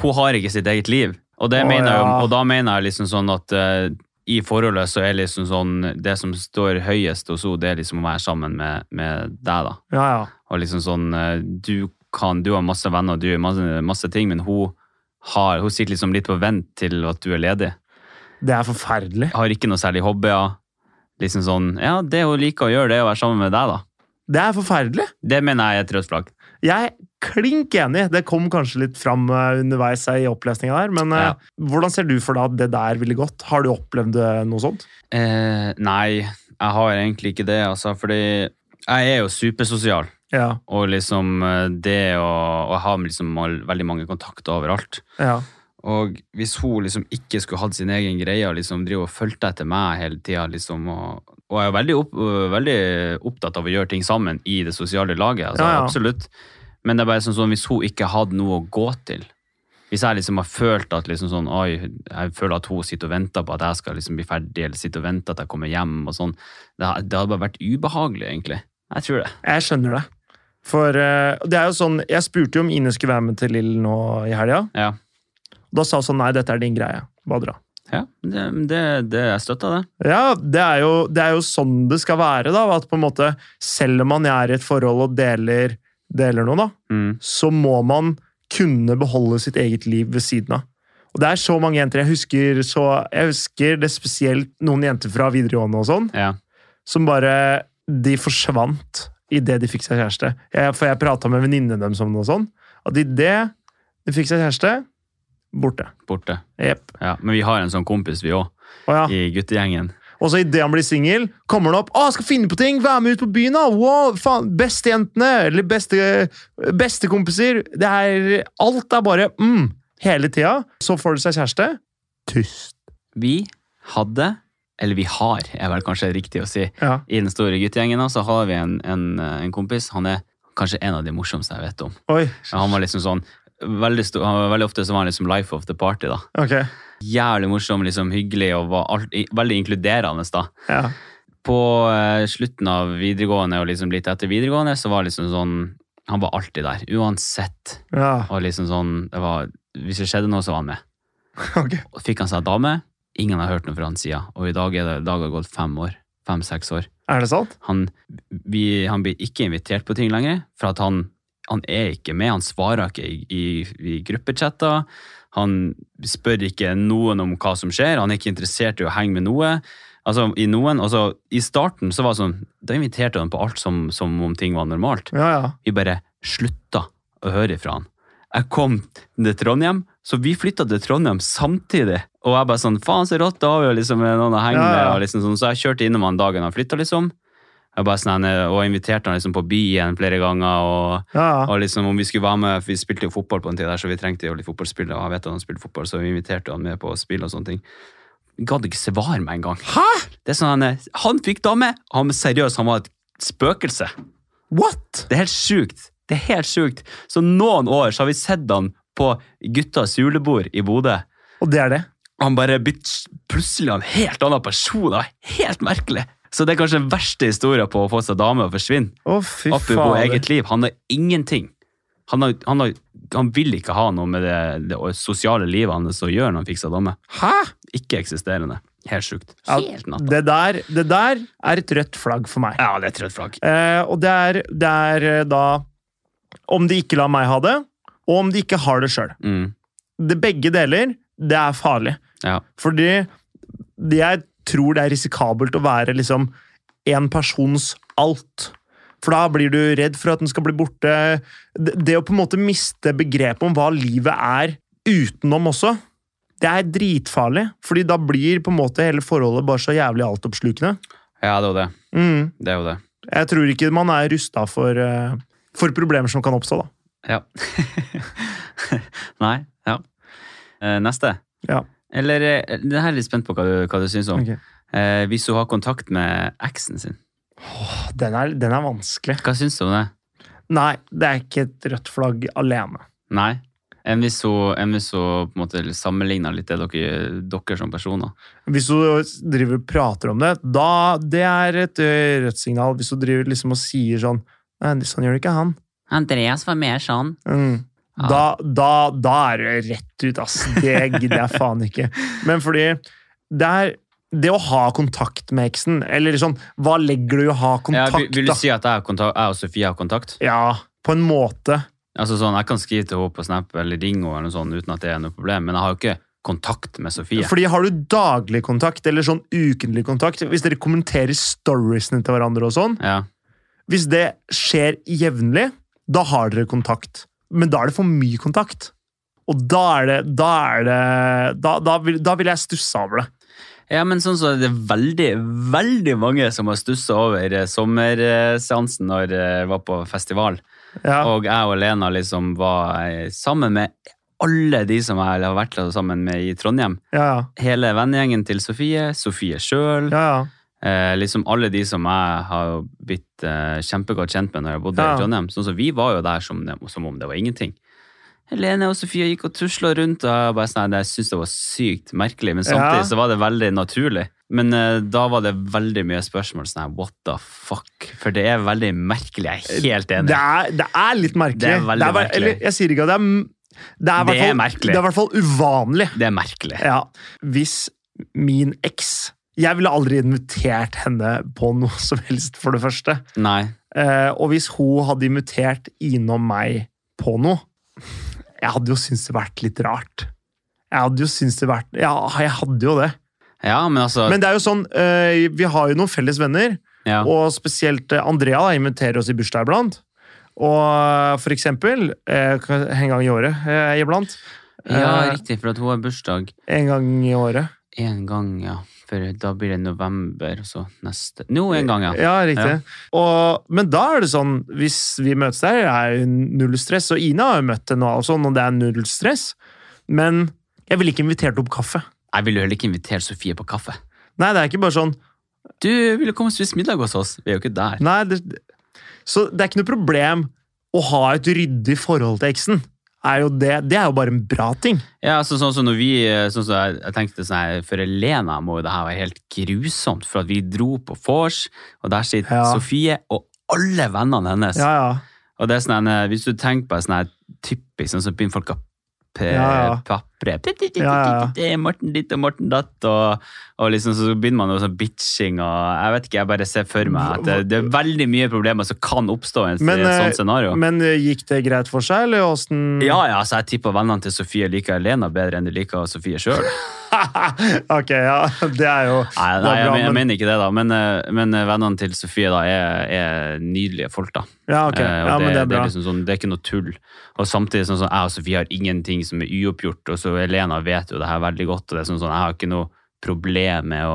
B: hun har ikke sitt eget liv. Og, det
A: Å,
B: mener jeg, jo-
A: ja.
B: og da mener jeg liksom sånn at eh, i forholdet så er liksom sånn Det som står høyest hos henne, det er liksom å være sammen med, med deg, da.
A: Ja, ja.
B: Og liksom sånn eh, Du kan, du har masse venner, og du gjør masse, masse ting, men hun har, hun sitter liksom litt på vent til at du er ledig.
A: Det er forferdelig.
B: Har ikke noe særlig hobbyer. Liksom sånn Ja, det hun liker å gjøre, det er å være sammen med deg, da.
A: Det er forferdelig!
B: Det mener jeg er et rødt flagg.
A: Jeg er klink enig. Det kom kanskje litt fram eh, underveis i opplesninga der, men eh,
B: Ja.
A: hvordan ser du for deg at det der ville gått? Har du opplevd eh, noe sånt?
B: Eh, nei, jeg har egentlig ikke det, altså, fordi jeg er jo supersosial.
A: Ja.
B: Og liksom eh, det å Og jeg har liksom all- veldig mange kontakter overalt.
A: Ja.
B: Og hvis hun liksom ikke skulle hatt sin egen greie og liksom drive og fulgte etter meg hele tida liksom, og, og jeg er veldig, opp, øh, veldig opptatt av å gjøre ting sammen i det sosiale laget. Altså,
A: Ja, ja.
B: Absolutt. Men det er bare sånn, sånn hvis hun ikke hadde noe å gå til Hvis jeg liksom har følt at liksom sånn, oi, jeg føler at hun sitter og venter på at jeg skal liksom bli ferdig, eller sitter og venter at jeg kommer hjem og sånn, det, ha- det hadde bare vært ubehagelig, egentlig. Jeg tror det.
A: Jeg skjønner det. For eh, det er jo sånn Jeg spurte jo om Ine skulle være med til Lill nå i helga.
B: Ja.
A: Da sa hun sånn nei, dette er din greie. Bare dra.
B: Ja, det, det, det jeg støtter det.
A: Ja, det er, jo, det er jo sånn det skal være, da. At på en måte, selv om man er i et forhold og deler, deler noe, da,
B: Mm.
A: så må man kunne beholde sitt eget liv ved siden av. Og det er så mange jenter jeg husker, så jeg husker det spesielt noen jenter fra videregående og sånn,
B: Ja.
A: som bare De forsvant idet de fikk seg kjæreste. Jeg, for jeg prata med venninnene deres om det og sånn. At idet de fikk seg kjæreste, borte.
B: Borte.
A: Jepp.
B: Ja, men vi har en sånn kompis, vi òg,
A: Å ja.
B: i guttegjengen.
A: Og så idet han blir singel, kommer han opp. Å, 'Skal finne på ting! Være med ut på byen!' da! Wow, faen, Beste jentene! Eller beste bestekompiser. Det er Alt er bare mm, hele tida. Så får de seg kjæreste. Tyst.
B: Vi hadde, eller vi har, er vel kanskje riktig å si,
A: Ja.
B: i den store guttegjengen da, så har vi en, en, en kompis. Han er kanskje en av de morsomste jeg vet om.
A: Oi.
B: Han var liksom sånn Veldig, stor, han var veldig ofte så var han liksom life of the party. da.
A: Ok.
B: Jævlig morsom, liksom hyggelig og var alt, i- veldig inkluderende. da.
A: Ja.
B: På eh, slutten av videregående og liksom litt etter videregående så var liksom sånn Han var alltid der, uansett.
A: ja.
B: Og liksom sånn, det var, Hvis det skjedde noe, så var han med.
A: Ok.
B: Og fikk han seg dame. Ingen har hørt noe fra han siden. Og i dag, er det, i dag har det gått fem år. Fem-seks år.
A: Er det sant?
B: Han, vi, han blir ikke invitert på ting lenger, for at han, han er ikke med. Han svarer ikke i, i, i gruppechatter. Han spør ikke noen om hva som skjer. Han er ikke interessert i å henge med noe. Altså, i noen, altså, I starten så var det sånn, da inviterte han på alt som, som om ting var normalt
A: Ja, ja.
B: vi bare slutta å høre ifra han. Jeg kom til Trondheim, så vi flytta til Trondheim samtidig. Og jeg bare sånn, faen så rått, da har vi jo liksom noen å henge
A: Ja,
B: med.
A: ja.
B: Og liksom sånn, så jeg kjørte innom han dagen han flytta, liksom. Jeg bare sånn, og inviterte han liksom på byen flere ganger. Og,
A: ja, ja.
B: og liksom om vi skulle være med, for vi spilte jo fotball på en tid der, så vi trengte jo litt fotballspillere. Og jeg vet at han spilte fotball, så vi inviterte han med på spill og sånne ting. Gadd ikke svare meg engang.
A: Hæ?
B: Det er sånn, han, er- han fikk dame! Han seriøst, han var et spøkelse.
A: What?
B: Det er helt sjukt. Det er helt sjukt. Så noen år så har vi sett han på guttas julebord i Bodø.
A: Og det er det.
B: Han bare blitt plutselig en helt annen person. Det var helt merkelig. Så det er kanskje den verste historien på å få seg dame og forsvinne.
A: Å, fy
B: Apropos
A: fader.
B: eget liv. Han har ingenting. Han, har, han, har, han vil ikke ha noe med det, det sosiale livet hans å gjøre når han fikk seg dame.
A: Hæ?
B: Ikke eksisterende. Helt sjukt.
A: Ja,
B: Helt natta.
A: det, der, det der er et rødt flagg for meg.
B: Ja, det er et rødt flagg.
A: Eh, og det er, det er eh, da Om de ikke lar meg ha det, og om de ikke har det sjøl.
B: Mm.
A: Begge deler, det er farlig.
B: Ja.
A: Fordi det- jeg tror det er risikabelt å være liksom en persons alt. For da blir du redd for at den skal bli borte. Det, det å på en måte miste begrepet om hva livet er utenom også, det er dritfarlig. Fordi da blir på en måte hele forholdet bare så jævlig altoppslukende.
B: ja, det er jo det.
A: Mm.
B: Det er jo det.
A: Jeg tror ikke man er rusta for, eh, for problemer som kan oppstå, da.
B: Ja. Nei, ja. Eh, Neste.
A: Ja.
B: Eller, eh, det her er litt spent på hva du, hva du syns om.
A: Ok.
B: Eh, hvis hun har kontakt med eksen sin,
A: Den, er, den er vanskelig.
B: hva syns du om det?
A: Nei, det er ikke et rødt flagg alene.
B: Nei. Enn hvis hun, enn hvis hun på en måte sammenligner litt det dere, dere som personer.
A: Hvis hun driver og prater om det, da det er et ø, rødt signal. Hvis hun driver liksom og sier sånn Nei, sånn gjør det ikke han.
B: Andreas var mer sånn.
A: Mm.
B: Ja.
A: Da, da, da er det rett ut, ass. Det gidder jeg faen ikke. Men fordi det er det å ha kontakt med eksen, eller sånn Hva legger du i å ha
B: Ja,
A: kontakt,
B: vil, vil du
A: da?
B: si at jeg, har kontak, jeg og Sofie har kontakt?
A: Ja, på en måte.
B: Altså sånn, Jeg kan skrive til henne på Snap eller ringe henne eller noe sånt uten at det er noe problem, men jeg har jo ikke kontakt med Sofie.
A: Fordi har du daglig kontakt, eller sånn ukentlig kontakt, hvis dere kommenterer storiesene til hverandre og sånn,
B: Ja.
A: hvis det skjer jevnlig, da har dere kontakt. Men da er det for mye kontakt. Og da er det Da, er det, da, da, vil, da vil jeg stusse over det.
B: Ja, men sånn så er det veldig, veldig mange som har stussa over eh, sommerseansen når eh, jeg var på festival.
A: Ja.
B: Og jeg og Lena liksom var eh, sammen med alle de som jeg har vært sammen med i Trondheim.
A: Ja, ja.
B: Hele vennegjengen til Sofie, Sofie sjøl.
A: ja, ja.
B: Eh, liksom alle de som jeg har blitt eh, kjempegodt kjent med når jeg bodde
A: Ja.
B: i Trondheim. Sånn så vi var jo der som, som om det var ingenting. Helene og Sofie gikk og tusla rundt, og jeg bare sånn, nei, jeg syntes det var sykt merkelig. Men samtidig
A: Ja.
B: så var det veldig naturlig. Men eh, da var det veldig mye spørsmål sånn her, what the fuck? For det er veldig merkelig, jeg er helt
A: Det
B: enig.
A: er, det er litt merkelig.
B: Det er veldig
A: ver-
B: merkelig.
A: Eller, jeg sier ikke at det er m- Det er, i hvert
B: Det er
A: fall-
B: merkelig.
A: Det er i hvert fall uvanlig.
B: Det er merkelig.
A: Ja. Hvis min eks. Jeg ville aldri invitert henne på noe som helst, for det første.
B: Nei.
A: Eh, og hvis hun hadde invitert innom meg på noe Jeg hadde jo syntes det vært litt rart. Jeg hadde jo syntes det vært Ja, jeg hadde jo det.
B: Ja, men altså
A: Men det er jo sånn, eh, vi har jo noen felles venner,
B: ja.
A: og spesielt eh, Andrea da, inviterer oss i bursdag iblant. Og eh, for eksempel eh, kan- En gang i året eh, iblant.
B: ja,
A: Eh,
B: riktig, for at hun har bursdag
A: En gang i året.
B: én gang, ja. For da blir det november, og så neste Nå en gang, ja.
A: Ja, riktig. Og, men da er det sånn, hvis vi møtes der, er jo null stress. Og Ina har jo møtt henne og sånn, og det er null stress. Men jeg ville ikke invitert opp kaffe.
B: Jeg ville jo heller ikke invitere Sofie på kaffe.
A: Nei, det er ikke bare sånn
B: Du ville komme og spise middag hos oss. Vi er jo ikke der.
A: Nei, det, Så det er ikke noe problem å ha et ryddig forhold til eksen. Er jo det, det er jo bare en bra ting.
B: Ja, altså sånn som når vi, sånn som jeg, jeg tenkte sånn her, For Elena må jo det her være helt grusomt, for at vi dro på vors, og der sitter
A: Ja.
B: Sofie og alle vennene hennes.
A: Ja, ja.
B: Og det er sånn, her, Hvis du tenker på en sånn her typisk, sånn som begynner folk å pe-
A: Ja, ja.
B: papre
A: Ja,
B: Morten ditt og Morten datt, og, og liksom så begynner man med sånn bitching og Jeg vet ikke, jeg bare ser for meg at det, det er veldig mye problemer som kan oppstå i et
A: Men, eh,
B: sånt scenario.
A: Men eh, gikk det greit for seg, eller åssen
B: ja, ja, altså Jeg tipper vennene til Sofie liker Elena bedre enn de liker Sofie sjøl.
A: ok, ja. Det er jo
B: Nei,
A: det er bra,
B: nei jeg, men- jeg
A: men-
B: mener ikke det, da. Men, eh, men eh, vennene til Sofie da er, er nydelige folk, da.
A: Ja, ok.
B: Eh, og
A: Ja,
B: det,
A: men det er
B: det,
A: bra.
B: er liksom sånn, det er ikke noe tull. Og samtidig sånn sånn, jeg og Sofie har ingenting som er uoppgjort, og så Elena vet jo det her veldig godt, og det er sånn sånn, jeg har ikke noe problem med å,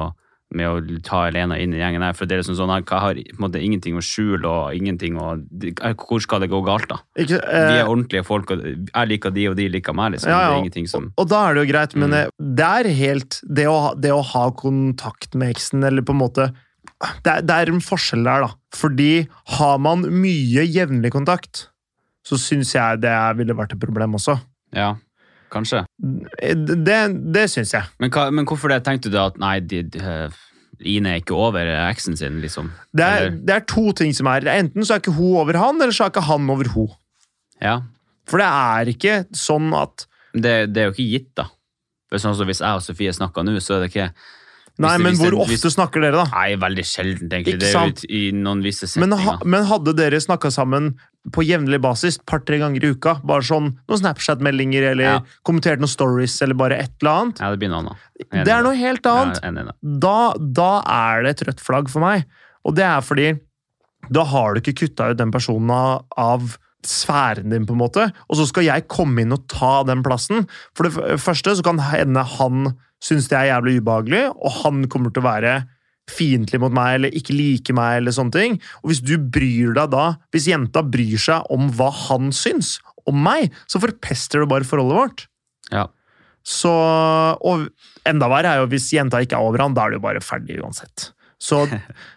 B: med å ta Elena inn i gjengen her, for det er liksom sånn, jeg har på en måte ingenting å skjule, og ingenting å, hvor skal det gå galt da?
A: Ikke,
B: Vi
A: eh,
B: er ordentlige folk, og jeg liker de, og de liker meg, liksom.
A: Ja, ja.
B: Det er ingenting som...
A: Og da er det jo greit, men
B: Mm.
A: eh, det er helt det å, ha- det å ha kontakt med eksen, eller på en måte det er, det er en forskjell der, da. Fordi har man mye jevnlig kontakt, så syns jeg det er- ville vært et problem også.
B: Ja, kanskje.
A: Eh, Det, det syns jeg.
B: Men, hva, men hvorfor det? Tenkte du at, nei, de, de, Ine er ikke over eksen sin, liksom?
A: Det er,
B: Eller-
A: det er to ting som er Enten så er ikke hun over han, eller så er ikke han over hun.
B: Ja,
A: For det er ikke sånn at
B: Men Det, det er jo ikke gitt, da. For sånn som Hvis jeg og Sofie snakker nå, så er det ikke
A: Nei,
B: det-
A: men
B: hvis
A: hvor
B: det- hvis-
A: ofte snakker dere, da?
B: Nei, veldig sjeldent, egentlig.
A: Ikke
B: Det er
A: sant?
B: jo i i noen visse
A: Men,
B: settinger.
A: ha, men hadde dere snakka sammen på jevnlig basis, par-tre ganger i uka, bare sånn noen Snapchat-meldinger eller
B: Ja.
A: kommentert noen stories eller bare et eller annet,
B: ja, det blir noe annet. Enig i
A: det er noe helt annet.
B: Ja, enig i det.
A: Da, da er det et rødt flagg for meg. Og det er fordi da har du ikke kutta ut den personen av, av sfæren din, på en måte. Og så skal jeg komme inn og ta den plassen. For det f- første så kan hende han syns det er jævlig ubehagelig, og han kommer til å være fiendtlig mot meg eller ikke like meg. eller sånne ting. Og hvis du bryr deg da, hvis jenta bryr seg om hva han syns om meg, så forpester du bare forholdet vårt.
B: Ja.
A: Så, og enda verre er jo hvis jenta ikke er over han, da er det jo bare ferdig uansett. Så,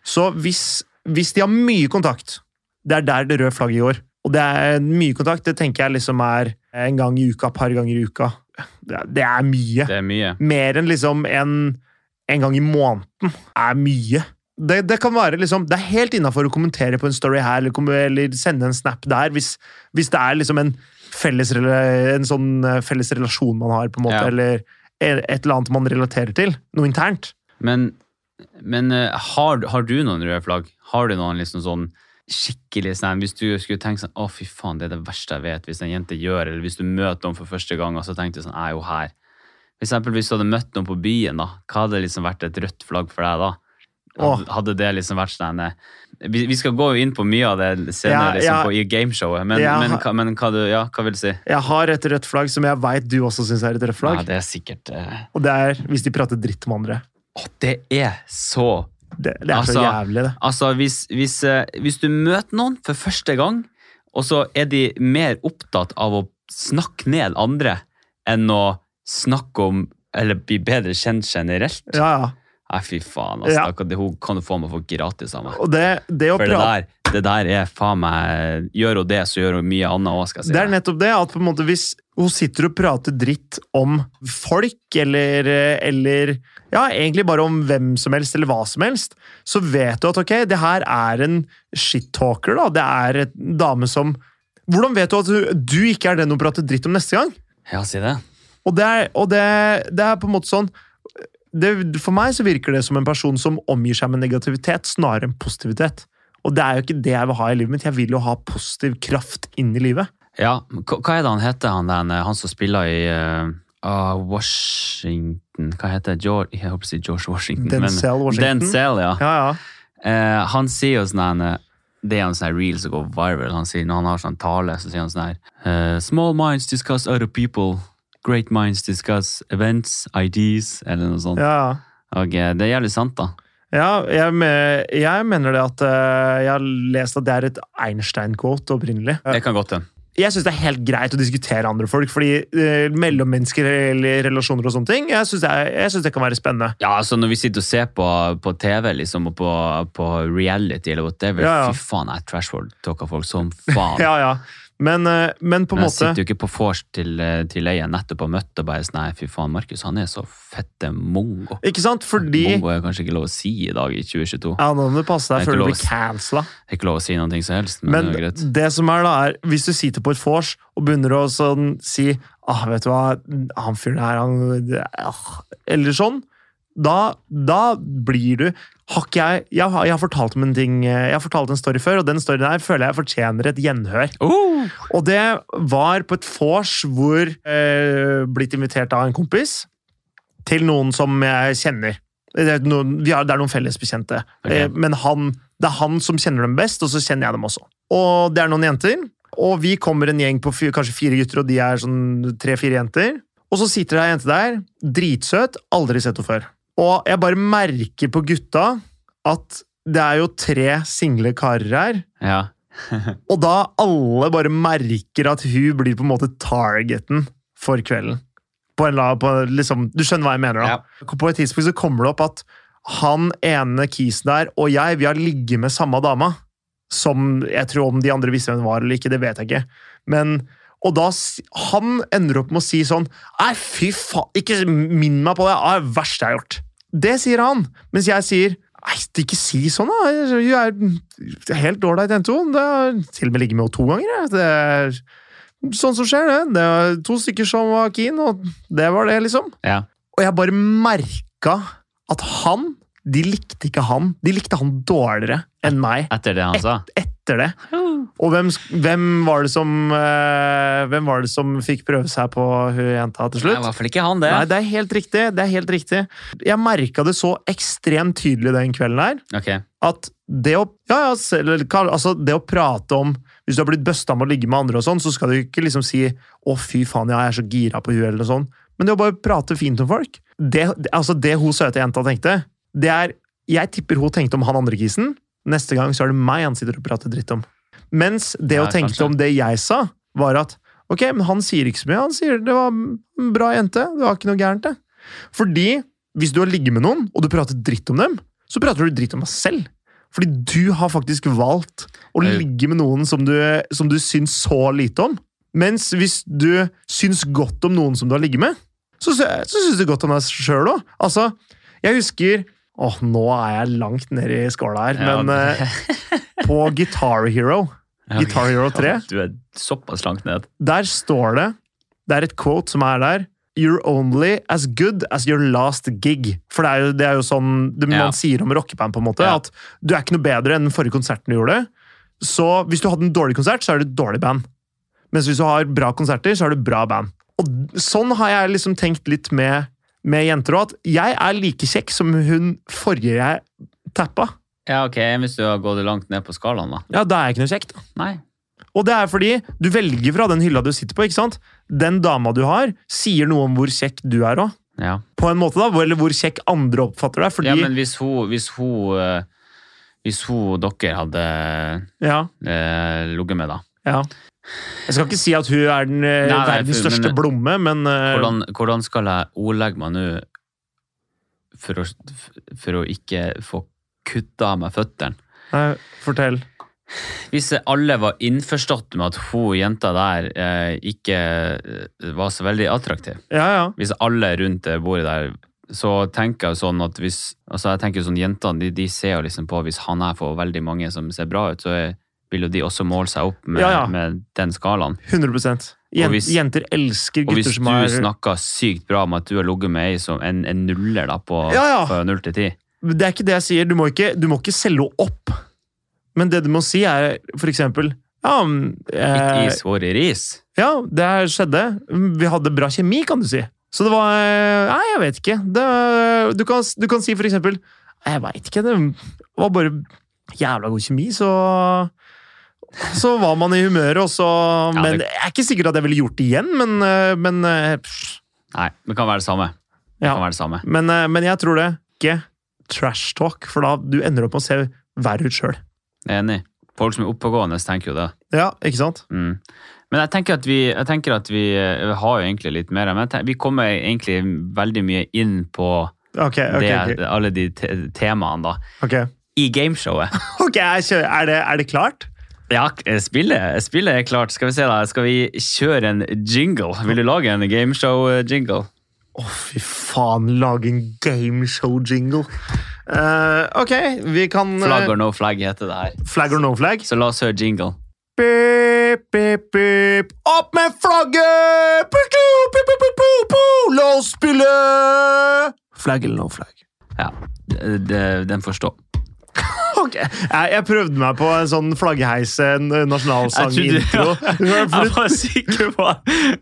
A: så hvis, hvis de har mye kontakt, det er der det røde flagget går. Og det er mye kontakt, det tenker jeg liksom er en gang i uka, et par ganger i uka. Det er, det er mye.
B: Det er mye.
A: Mer enn liksom en, en gang i måneden er mye. Det, det kan være liksom, det er helt innafor å kommentere på en story her eller, kom- eller sende en snap der, hvis, hvis det er liksom en, felles, rela- en sånn eh, felles relasjon man har, på en måte,
B: Ja.
A: eller e- et eller annet man relaterer til. Noe internt.
B: Men, men eh, har, har du noen røde flagg? Har du noen liksom sånn skikkelig sånn Hvis du skulle tenke sånn Å, fy faen, det er det verste jeg vet hvis en jente gjør, eller hvis du møter noen for første gang, og så tenkte du sånn Jeg er jo her. For eksempel hvis du hadde møtt noen på byen, da, hva hadde liksom vært et rødt flagg for deg da? Hadde, hadde det liksom vært sånn eh, vi, vi skal gå inn på mye av det senere
A: Ja,
B: liksom,
A: ja.
B: på, i gameshowet, men,
A: Ja.
B: men, hva- men hva, du, ja, hva vil du si?
A: Jeg har et rødt flagg som jeg veit du også syns er et rødt flagg,
B: Ja, det er sikkert eh,
A: og det er hvis de prater dritt om andre.
B: Å, det er så
A: Det, det er så
B: Altså,
A: jævlig, det.
B: Altså, hvis, hvis, eh, hvis du møter noen for første gang, og så er de mer opptatt av å snakke ned andre enn å snakke om eller bli bedre kjent generelt
A: Ja, ja.
B: Nei, fy faen, altså.
A: Ja.
B: da kan det- Hun kan du få meg for gratis av meg.
A: Og det, det å
B: For det
A: prate
B: der, det der er faen meg Gjør hun det, så gjør hun mye annet òg, skal jeg si.
A: Det er
B: deg.
A: nettopp det, at på en måte hvis hun sitter og prater dritt om folk, eller, eller ja, egentlig bare om hvem som helst, eller hva som helst, så vet du at ok, det her er en shit-talker, da. Det er en dame som Hvordan vet du at du, du ikke er den hun prater dritt om neste gang?
B: Ja, si det.
A: Og det er, og det, det er på en måte sånn det, For meg så virker det som en person som omgir seg med negativitet snarere enn positivitet. Og det er jo ikke det jeg vil ha i livet mitt. Jeg vil jo ha positiv kraft inn i livet.
B: Ja, men hva hva er det han heter, han, der, han som spiller i eh, ah, Washington Hva heter det? George, jeg håper å si George Washington. men-
A: Denzel Washington.
B: Denzel, ja.
A: Ja, ja.
B: Eh, han sier jo sånn her eh, Det er jo en sånn her reel som går viral. Han sier, når han har sånn tale, så sier han sånn her eh, Small minds discuss other people. Great minds discuss events, ideas, eller noe sånt.
A: ja, ja.
B: Og eh, det er jævlig sant, da.
A: Ja, jeg, me- jeg mener det at eh, jeg har lest at det er et Einstein-quote opprinnelig.
B: Det kan godt hende.
A: Jeg syns det er helt greit å diskutere andre folk, fordi eh, mellommenneskelige relasjoner og sånne ting, jeg syns det, er- jeg synes det kan være spennende.
B: Ja, altså når vi sitter og ser på, på TV liksom, og på, på reality eller whatever,
A: Ja, ja.
B: fy faen, jeg trashfall-talker folk som faen.
A: Ja, ja. Men, eh, men på en
B: Men jeg
A: måte
B: sitter jo ikke på vors til, eh, til ei jeg nettopp har møtt, og bare sånn Nei, fy faen, Markus, han er så fette mongo.
A: Ikke sant? Fordi
B: Mongo er kanskje ikke lov å si i dag i 2022.
A: ja, nå må du passe deg
B: Det er ikke
A: før du
B: lov å
A: blir
B: si.
A: cancela.
B: Det er ikke lov å si noe som helst, men,
A: Men
B: det er greit.
A: det som er da, er hvis du sitter på et vors og begynner å sånn, si ah, vet du hva, han fyren her, han det- ah, Eller sånn. Da, da blir du har ikke jeg, jeg, har, jeg har fortalt om en ting eh, Jeg har fortalt en story før, og den storyen her føler jeg fortjener et gjenhør.
B: Oh!
A: Og det var på et vors hvor eh, blitt invitert av en kompis til noen som jeg kjenner. Det er noen, vi har, det er noen fellesbekjente.
B: Ok.
A: Eh, men han, det er han som kjenner dem best, og så kjenner jeg dem også. Og det er noen jenter. Og vi kommer en gjeng på fy- kanskje fire gutter, og de er sånn tre-fire jenter. Og så sitter det ei jente der, dritsøt, aldri sett henne før. Og jeg bare merker på gutta at det er jo tre single karer her.
B: Ja.
A: Og da alle bare merker at hun blir på en måte targeten for kvelden. På en la, på liksom, du skjønner hva jeg mener, da. På et tidspunkt så kommer det opp at han ene kisen der og jeg, vi har ligget med samme dama. Som jeg tror om de andre visste hvem det var eller ikke, det vet jeg ikke. Men, og da s- Han ender opp med å si sånn Nei, fy faen, ikke minn meg på det! Det er det verste jeg har gjort. Det sier han. Mens jeg sier Nei, ikke si sånn, da! Du er helt ålreit, jente. hun. Det har Til og med ligget med henne to ganger. jeg. Det er sånn som skjer, det. Det var to stykker som var keen, og det var det, liksom.
B: ja.
A: Og jeg bare merka at han De likte ikke han. De likte han dårligere enn meg
B: Etter det han sa.
A: etter det. Og hvem, sk- hvem var det som eh, Hvem var det som fikk prøve seg på hun jenta til
B: Nei, i
A: slutt?
B: hvert fall ikke han, det.
A: Nei, det er helt riktig. Det er helt riktig. Jeg merka det så ekstremt tydelig den kvelden her
B: Ok.
A: at det å, ja, ja, selv- eller kall- altså det å prate om Hvis du har blitt busta med å ligge med andre, og sånn, så skal du ikke liksom si 'Å, fy faen, ja, jeg er så gira på hun', eller noe sånt. Men det å bare prate fint om folk Det, det- altså det hun søte jenta tenkte, det er Jeg tipper hun tenkte om han andre kisen. Neste gang så er det meg han sitter og prater dritt om. Mens det
B: Ja,
A: hun tenkte
B: kanskje.
A: om det jeg sa, var at Ok, men han sier ikke så mye. Han sier det var en bra jente. Det var ikke noe gærent, det. Fordi hvis du har ligget med noen, og du prater dritt om dem, så prater du dritt om deg selv. Fordi du har faktisk valgt å
B: Jeg-
A: ligge med noen som du, som du syns så lite om. Mens hvis du syns godt om noen som du har ligget med, så, sy- så syns du godt om deg sjøl òg. Altså, jeg husker Åh, nå er jeg langt nede i skåla her,
B: Ja,
A: men eh, på Guitar Hero,
B: Ok.
A: Guitar Hero 3
B: Du er såpass langt ned.
A: der står det Det er et quote som er der. You're only as good as your last gig. For det er jo, det er jo sånn det man
B: Ja.
A: sier om rockeband, på en måte.
B: Ja.
A: At du er ikke noe bedre enn den forrige konserten du gjorde. Så hvis du hadde en dårlig konsert, så er du et dårlig band. Mens hvis du har bra konserter, så er du bra band. Og sånn har jeg liksom tenkt litt med, med jenter òg, at jeg er like kjekk som hun forrige jeg tappa.
B: Ja, ok, hvis du har gått langt ned på skalaen, da.
A: Ja, da er jeg ikke noe kjekk, da.
B: Nei.
A: Og det er fordi du velger fra den hylla du sitter på, ikke sant? Den dama du har, sier noe om hvor kjekk du er òg.
B: Ja.
A: På en måte, da. hvor- Eller hvor kjekk andre oppfatter deg. Fordi
B: ja, men hvis hun, hvis hun, eh, hvis hun dere hadde
A: ja,
B: eh, ligget med, da,
A: ja. Jeg skal ikke si at hun er den eh,
B: Nei, nei,
A: verdens
B: for-
A: største
B: men-
A: blomme, men eh,
B: hvordan, hvordan skal jeg ordlegge meg nå for å, for å ikke få kutta av meg føttene?
A: nei, Fortell.
B: Hvis alle var innforstått med at hun jenta der eh, ikke eh, var så veldig attraktiv,
A: Ja, ja.
B: hvis alle rundt det bordet der, så tenker jeg sånn at hvis, altså jeg tenker sånn jentene, de, de ser jo liksom på hvis han her får veldig mange som ser bra ut, så er vil jo de også måle seg opp med,
A: Ja, ja.
B: med den skalaen.
A: 100 Jen,
B: Og hvis-
A: Jenter elsker
B: Og hvis
A: gutter
B: du
A: som er
B: snakker sykt bra om at du har ligget med ei som en, en nuller da på,
A: Ja, ja.
B: på 0 til 10
A: Det er ikke det jeg sier. Du må ikke, du må ikke selge henne opp. Men det du må si, er for eksempel Ja, mm,
B: Ikke
A: eh,
B: is, vår i ris.
A: ja det her skjedde. Vi hadde bra kjemi, kan du si. Så det var eh, Nei, jeg vet ikke. Det, du, kan, du kan si for eksempel «Nei, Jeg veit ikke. Det var bare jævla god kjemi, så så var man i humøret, og så
B: Ja,
A: Men
B: det-
A: jeg er ikke sikkert at jeg ville gjort det igjen, men, eh, men eh, pff,
B: Nei, det kan være det samme. Det
A: Ja.
B: kan være det samme.
A: Men, eh, men jeg tror det. Ikke trash talk, for da du ender opp med å se verre ut sjøl.
B: Jeg er enig. Folk som er oppegående, tenker jo det.
A: Ja, ikke sant?
B: Mm. Men jeg tenker at vi, jeg tenker at vi eh, har jo egentlig litt mer. Men jeg tenker, vi kommer egentlig veldig mye inn på
A: Ok, ok. ok.
B: det, alle de te temaene da.
A: Ok,
B: I gameshowet.
A: Ok, jeg kjører. Er, det, er det klart?
B: Ja, spillet, spillet er klart. Skal vi se da, skal vi kjøre en jingle? Vil du lage en gameshow-jingle?
A: Å, fy faen. Lage en gameshow-jingle. Eh, ok, vi kan eh,
B: Flagg or no flag heter det her.
A: Flag or no flag?
B: Så la oss høre jingle.
A: Pip, pip, pip. Opp med flagget! Pip, pip, pip, pip, pip, pip. La oss spille Flag eller no flag?
B: Ja, d- d- den forstår.
A: Ok, eh, jeg, jeg prøvde meg på en sånn flaggheis en eh,
B: Jeg
A: nasjonalsang-intro.
B: trodde- Jeg var sikker på,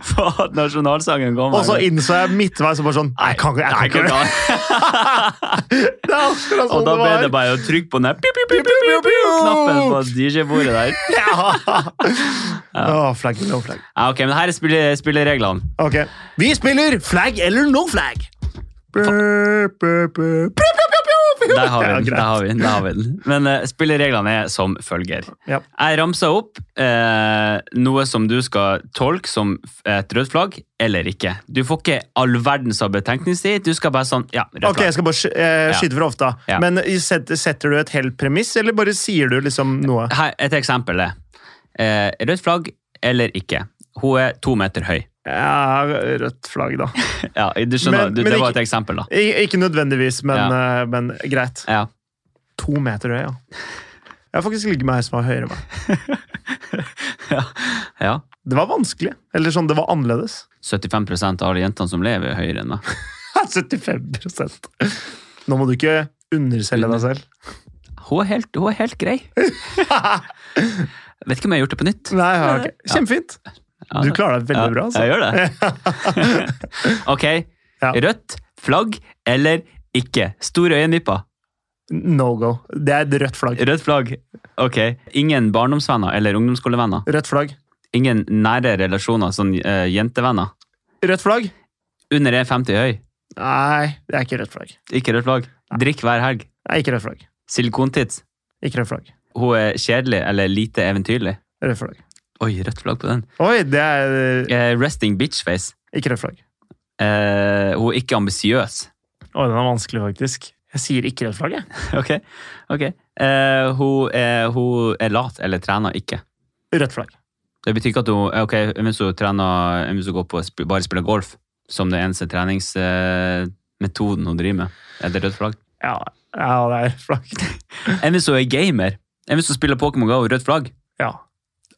B: på at nasjonalsangen kom.
A: Og så innså jeg midtveis og bare sånn Nei, jeg kan ikke,
B: Nei,
A: jeg kan ikke. Det er akkurat
B: Og
A: sånn
B: da ble det
A: det var.
B: bare å trykke på den der pip, pip, pip, pip,
A: Piu, piu,
B: knappen på
A: piu.
B: DJ-bordet der.
A: Ja. Å, Flagg eller no flagg.
B: Ja, ok, men her er spille- spillereglene.
A: Ok. Vi spiller flagg eller no flagg. Der
B: Der har vi den. Der har vi den, der har vi den. Men eh, spillereglene er som følger.
A: Ja.
B: Jeg ramser opp eh, noe som du skal tolke som f- et rødt flagg, eller ikke. Du får ikke all verdens av betenkningstid. Du skal bare sånn Ja, rødt
A: Ok, jeg
B: flagg.
A: skal bare sky- eh, skyte fra hofta.
B: Ja.
A: Men i- set- setter du et helt premiss, eller bare sier du liksom noe?
B: Her, et eksempel er eh, rødt flagg eller ikke. Hun er to meter høy.
A: Ja, rødt flagg, da.
B: Ja, du skjønner,
A: Men-
B: du,
A: men
B: Det var
A: ikke-
B: et eksempel, da.
A: Ik ikke nødvendigvis, men, eh, men greit.
B: Ja.
A: To meter høy, ja. Jeg har faktisk ligget med ei som var høyere enn meg.
B: ja.
A: Det var vanskelig. Eller sånn, det var annerledes.
B: 75 av alle jentene som lever, er høyere enn meg.
A: 75 Nå må du ikke underselge deg selv.
B: Hun er helt, hun er helt grei. Vet ikke om jeg har gjort det på nytt.
A: Nei, ja, ok. Kjempefint.
B: Ja.
A: Du klarer deg veldig bra. altså.
B: Ja, jeg gjør det. Ok,
A: Ja.
B: rødt flagg eller ikke? Store øyenvipper.
A: No go. Det er et rødt flagg.
B: Rødt flagg. Ok. Ingen barndomsvenner eller ungdomsskolevenner.
A: Rødt flagg.
B: Ingen nære relasjoner, sånn eh, jentevenner.
A: Rødt flagg?
B: Under 1,50 høy.
A: Nei, det er ikke rødt flagg.
B: Ikke rødt flagg. Drikk hver helg.
A: Nei, ikke rødt flagg.
B: Silikontits.
A: Ikke rødt flagg.
B: Hun er kjedelig eller lite eventyrlig.
A: Rødt flagg.
B: Oi, rødt flagg på den.
A: Oi, det er
B: Eh, resting bitchface.
A: Ikke rødt flagg.
B: Eh, hun er ikke ambisiøs.
A: Oi, den er vanskelig, faktisk. Jeg sier ikke rødt flagg, jeg.
B: Ok. ok. Eh, hun, er, hun er lat eller trener ikke.
A: Rødt flagg.
B: Det betyr ikke at hun eh, ok, hvis hun, trener, hvis hun går på, å sp- bare spiller golf, som det eneste treningsmetoden hun driver med, er det rødt flagg.
A: Ja, ja det er rødt flagg.
B: Enn hvis hun er gamer? Enn hvis hun spiller Pokémon GO, rødt flagg?
A: Ja.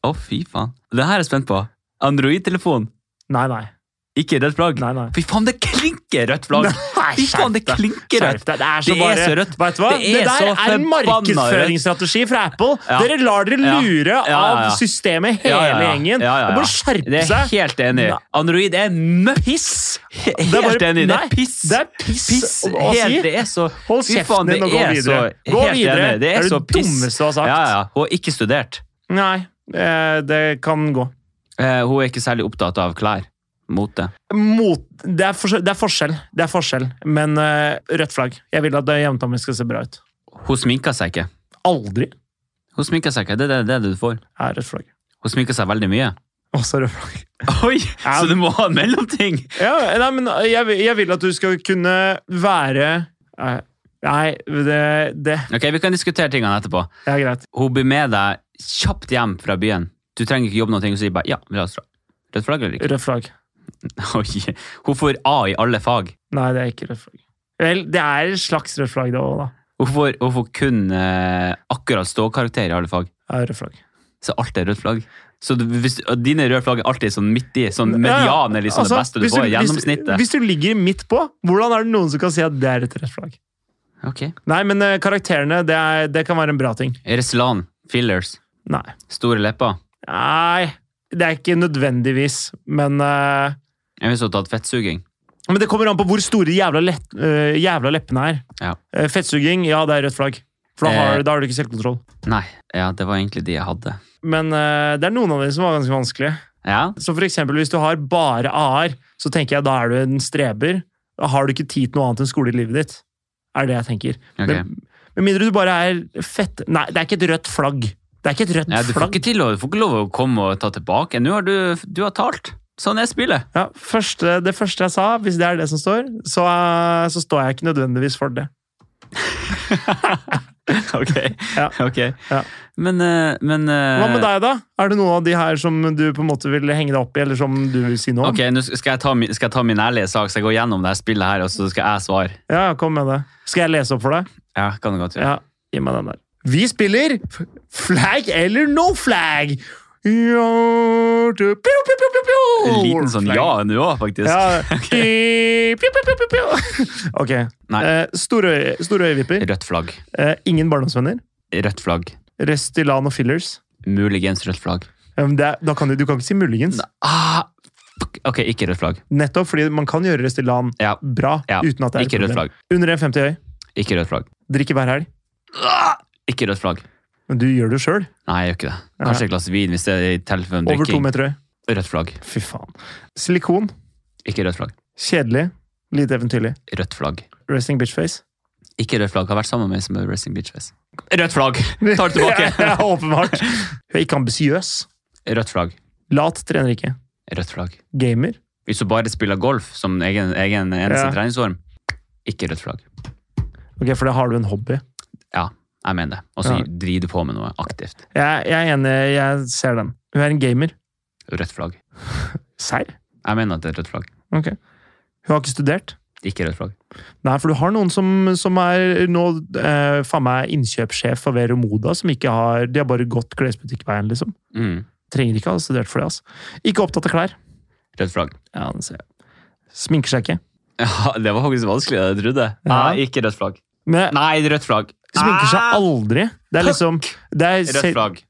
B: Å, fy faen. Det her er jeg spent på. Android-telefon,
A: Nei, nei.
B: ikke rødt flagg.
A: Nei, nei.
B: Fy faen, det klinker rødt flagg!
A: Nei,
B: Fy faen, det
A: skjerp deg.
B: klinker rødt!
A: Skjerp deg. Det er så,
B: Det er
A: bare,
B: så rødt.
A: Vet du hva?
B: Det
A: Det,
B: er så
A: der er en
B: forbanna rødt.
A: markedsføringsstrategi fra Apple.
B: Ja.
A: Dere lar dere
B: Ja.
A: lure
B: Ja, ja, ja.
A: av systemet, hele
B: Ja, ja, ja.
A: gjengen.
B: Ja, ja, ja.
A: Og bare skjerpe
B: Det er
A: seg.
B: jeg helt enig i.
A: Nei.
B: Android er møkk!
A: Piss!
B: He-
A: Det
B: Helt
A: er bare-
B: enig. Det
A: nei,
B: er piss!
A: Det er piss,
B: Piss,
A: å, å
B: helt,
A: si.
B: det er så
A: Hold
B: Fy
A: kjeften
B: faen, det
A: din og gå
B: er så
A: videre. Gå
B: helt
A: videre.
B: enig. Det
A: Det
B: er
A: er
B: så
A: det
B: piss.
A: dummeste du har sagt.
B: Ja, ja. Hun har ikke studert.
A: Nei, eh, det kan gå.
B: Eh, hun er ikke særlig opptatt av klær. Mote.
A: Mot, det, er forskjell, det er forskjell, det er forskjell. Men eh, rødt flagg. Jeg vil at det jevnt om vi skal se bra ut.
B: Hun sminker seg ikke.
A: Aldri
B: Hun sminker seg ikke, Det er det, det er det du får.
A: er rødt flagg.
B: Hun sminker seg veldig mye.
A: Også rødt flagg.
B: Oi, Så du må ha en mellomting!
A: Ja, nei, men øh, jeg, vil- jeg vil at du skal kunne være Nei, nei, det, det
B: Ok, Vi kan diskutere tingene etterpå.
A: er greit.
B: Hun blir med deg kjapt hjem fra byen. Du trenger ikke jobbe noe og si bare ja, la oss dra. Rødt flagg eller ikke?
A: Rødt flagg.
B: Oi. Hun får A i alle fag.
A: Nei, det er ikke rødt flagg. Vel, det er et slags rødt flagg, det òg, da.
B: Hun får, hun får kun eh, akkurat ståkarakter i alle fag.
A: Ja, rødt flagg.
B: så alt er rødt flagg. Så du, hvis, og dine røde flagg er alltid sånn midt i. Sånn
A: Ja, ja.
B: median er liksom
A: Altså,
B: det beste du
A: hvis
B: får.
A: Hvis,
B: Gjennomsnittet.
A: hvis du ligger midt på, hvordan er det noen som kan si at det er et rødt flagg?
B: Ok.
A: Nei, men eh, karakterene, det, er, det kan være en bra ting.
B: Ereslan, fillers,
A: Nei.
B: store lepper.
A: Nei, det er ikke nødvendigvis, men eh,
B: Jeg ville så tatt fettsuging.
A: Men det kommer an på hvor store jævla, lett, eh, jævla leppene er.
B: Ja.
A: Eh, fettsuging, ja, det er rødt flagg. For da har,
B: Eh.
A: da har du ikke selvkontroll.
B: Nei, ja, det var egentlig de jeg hadde.
A: Men eh, det er noen av dem som var ganske vanskelige.
B: Ja,
A: Så for eksempel, hvis du har bare A-er, så tenker jeg da er du en streber. Da har du ikke tid til noe annet enn skole i livet ditt. Er det jeg tenker.
B: ok.
A: Men, med mindre du bare er fett... Nei, det er ikke et rødt flagg. Det er ikke et rødt
B: ja, du, får
A: flagg.
B: ikke til å, du får ikke lov å komme og ta tilbake. Nå har du, du har talt. Sånn er spillet.
A: Ja, første, det første jeg sa, hvis det er det som står, så, eh, så står jeg ikke nødvendigvis for det.
B: Ok.
A: Ja.
B: ok.
A: Ja.
B: Men, eh, men eh,
A: Hva med deg, da? Er det noen av de her som du på en måte vil henge deg opp i, eller som du vil si noe om?
B: Ok, nå skal jeg, ta, min- skal jeg ta min ærlige sak, så jeg går gjennom det her spillet her, og så skal jeg svare.
A: Ja, ja, kom med det. Skal jeg lese opp for deg?
B: Ja, kan du godt gjøre.
A: Ja, gi meg den der. Vi spiller f- flag eller no flag! Ja, du- Pjo, pjo, pjo, pjo, pjo!
B: En liten sånn
A: Flag.
B: ja nå òg, faktisk.
A: Ja. Di- pjo, pjo, pjo, pjo, pjo. Ok.
B: Nei.
A: Eh, store, øy- store øyevipper.
B: Rødt flagg.
A: Eh, ingen barndomsvenner.
B: Rødt flagg.
A: Restylan og fillers.
B: Muligens rødt flagg.
A: Um, det, er- da kan du, du kan ikke si muligens.
B: Ah, fuck. Ok, ikke rødt flagg.
A: Nettopp fordi man kan gjøre Restylan
B: Ja.
A: bra
B: Ja,
A: uten at det er et
B: Ikke rødt
A: problem.
B: flagg.
A: Under 1,50 øy.
B: Ikke rødt flagg.
A: Drikker hver helg.
B: Ah, Ikke rødt flagg.
A: Men du gjør det jo sjøl.
B: Nei, jeg gjør ikke det. Kanskje et glass vin hvis det er i tilfelle en
A: Over to
B: drikking.
A: meter øy.
B: Rødt flagg.
A: Fy faen. Silikon.
B: Ikke rødt flagg.
A: Kjedelig. Lite eventyrlig.
B: Rødt flagg.
A: Resting bitchface.
B: Ikke rødt flagg. Har vært sammen med en som er Racing Bitchface. Rødt flagg! Tar det tilbake.
A: ja, åpenbart. Hun er ikke ambisiøs.
B: Rødt flagg.
A: Lat, trener ikke.
B: Rødt flagg.
A: Gamer.
B: Hvis du bare spiller golf som egen, egen eneste
A: Ja.
B: treningsform, ikke rødt flagg.
A: Ok, For da har du en hobby.
B: Jeg mener det. Og så
A: Ja.
B: driver du på med noe aktivt.
A: Jeg, jeg er enig, jeg ser den. Hun er en gamer.
B: Rødt flagg.
A: Serr?
B: Jeg mener at det er rødt flagg.
A: Ok. Hun har ikke studert.
B: Ikke rødt flagg.
A: Nei, for du har noen som, som er nå eh, faen meg innkjøpssjef for Vero Moda, som ikke har De har bare gått klesbutikkveien, liksom.
B: Mm.
A: Trenger ikke ha studert for det, altså. Ikke opptatt av klær.
B: Rødt flagg.
A: Ja, det ser jeg. Sminker seg ikke.
B: Ja, det var faktisk vanskeligere enn jeg trodde.
A: Ja.
B: Nei, ikke rødt flagg.
A: Men
B: Nei, rødt flagg.
A: sminker seg
B: Ah,
A: aldri. Det er liksom det er
B: Rødt
A: selv-
B: flagg.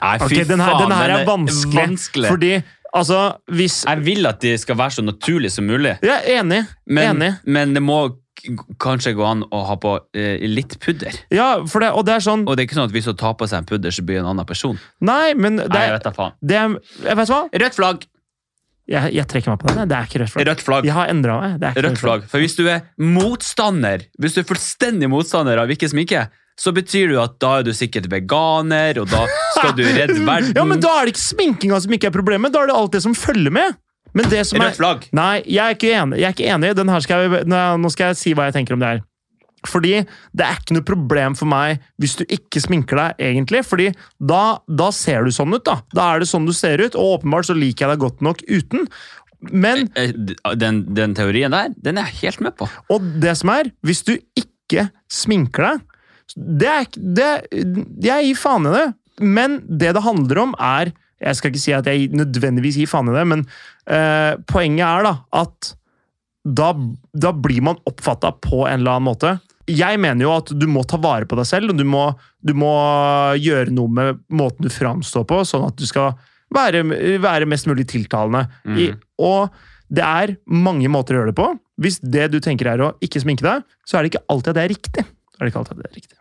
B: Nei, fy
A: Ok, den her,
B: faen.
A: den her
B: den
A: er vanskelig.
B: vanskelig.
A: Fordi, altså, hvis
B: Jeg vil at de skal være så naturlig som mulig.
A: Jeg er enig.
B: Men,
A: enig.
B: men det må k- kanskje gå an å ha på eh, litt pudder.
A: Ja, for det, og det er sånn
B: Og det er ikke sånn at hvis hun tar på seg en pudder, så blir hun en annen person.
A: Nei, men det,
B: Nei, jeg
A: er-
B: vet da faen.
A: det er jeg Vet du hva?
B: Rødt flagg!
A: Jeg, jeg trekker meg på den. Det er ikke rødt flagg.
B: Rødt flagg.
A: Jeg har endra meg. Det er ikke
B: Rødt flagg. For hvis du er motstander, hvis du er fullstendig motstander av ikke sminke, så betyr det jo at da er du sikkert veganer, og da skal du redde verden.
A: Ja, men da er det ikke sminkinga som ikke er problemet. Da er det alt det som følger med. Men det som er
B: Rødt flagg.
A: Nei, jeg er ikke enig. Jeg er ikke enig. Den her skal jeg, nå nå skal jeg si hva jeg tenker om det her. Fordi det er ikke noe problem for meg hvis du ikke sminker deg, egentlig. Fordi da, da ser du sånn ut, da. Da er det sånn du ser ut, og åpenbart så liker jeg deg godt nok uten. Men,
B: Eh, Den, den teorien der, den er jeg helt med på.
A: og det som er, hvis du ikke sminker deg, det er ikke det, Jeg gir faen i det. Men det det handler om, er Jeg skal ikke si at jeg nødvendigvis gir faen i det, men eh, poenget er da at da, da blir man oppfatta på en eller annen måte. Jeg mener jo at du må ta vare på deg selv, og du må, du må gjøre noe med måten du framstår på, sånn at du skal være, være mest mulig tiltalende. I, og det er mange måter å gjøre det på. Hvis det du tenker er å ikke sminke deg, så er det ikke alltid at det er riktig. Så er det ikke alltid at det er riktig.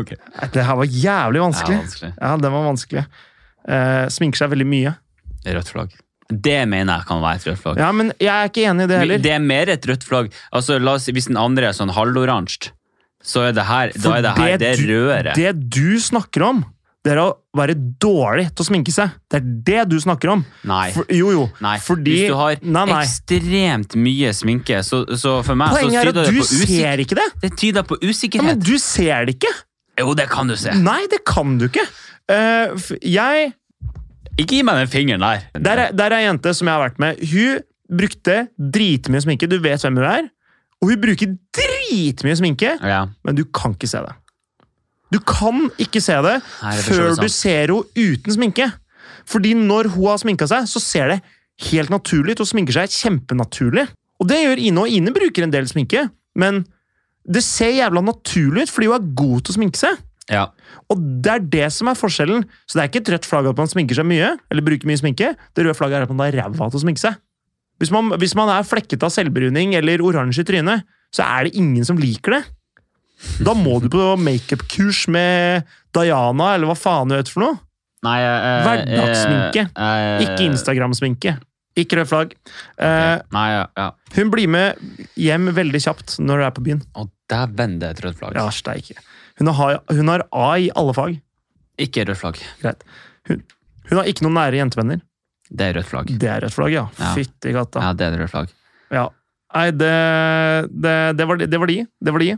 B: Okay.
A: Nei, Det her var jævlig
B: Det er
A: vanskelig.
B: vanskelig.
A: Ja, den var vanskelig. Eh, sminker seg veldig mye.
B: Rødt flagg. Det mener jeg kan være et rødt flagg.
A: Ja, men jeg er ikke enig i det
B: Vi-
A: heller.
B: Det er mer et rødt flagg. Altså, la oss si, Hvis den andre er sånn halvoransje, så er det her, da er det her, det er
A: du-
B: rødere.
A: Det du snakker om, det er å være dårlig til å sminke seg. Det er det du snakker om.
B: Nei.
A: For, jo, jo.
B: Nei,
A: Fordi
B: hvis du har
A: Nei, nei.
B: ekstremt mye sminke, så, så for meg så
A: Poenget er
B: tyder
A: at
B: det
A: du
B: på usikkerhet.
A: ser ikke det.
B: Det tyder på
A: Ja, men
B: usikkerhet.
A: du ser det ikke.
B: Jo, det kan du se.
A: Nei, det kan du ikke. Eh, f- jeg
B: Ikke gi meg den fingeren der.
A: Der er, der er ei jente som jeg har vært med. Hun brukte dritmye sminke. Du vet hvem hun er. Og hun bruker dritmye sminke,
B: Ja.
A: men du kan ikke se det. Du kan ikke se det
B: Nei, det er for så
A: før
B: vidt
A: du
B: sant.
A: ser henne uten sminke. Fordi når hun har sminka seg, så ser det helt naturlig ut. Hun sminker seg kjempenaturlig. Og det gjør Ine, og Ine bruker en del sminke, men det ser jævla naturlig ut fordi hun er god til å sminke seg.
B: Ja.
A: Og det er det som er forskjellen. Så det er ikke et rødt flagg at man sminker seg mye, eller bruker mye sminke. Det røde flagget er at man er ræva til å sminke seg. Hvis man, hvis man er flekket av selvbruning eller oransje i trynet, så er det ingen som liker det. Da må du på makeup-kurs med Diana, eller hva faen du heter for noe.
B: Nei, eh,
A: Hverdagssminke.
B: eh, eh,
A: Ikke Instagram-sminke. Ikke rødt flagg. Eh,
B: Nei, ja. ja.
A: hun blir med hjem veldig kjapt når du er på byen.
B: Å, dæven, det er et rødt flagg.
A: Ja, steike. Hun har, hun har A i alle fag.
B: Ikke rødt flagg.
A: Greit. Hun, hun har ikke noen nære jentevenner.
B: Det er rødt flagg.
A: Det er rødt flagg, ja.
B: Ja.
A: Fytti katta.
B: Ja, det er et rødt flagg.
A: Ja. Nei, det, det, det, var, det var de. Det var de.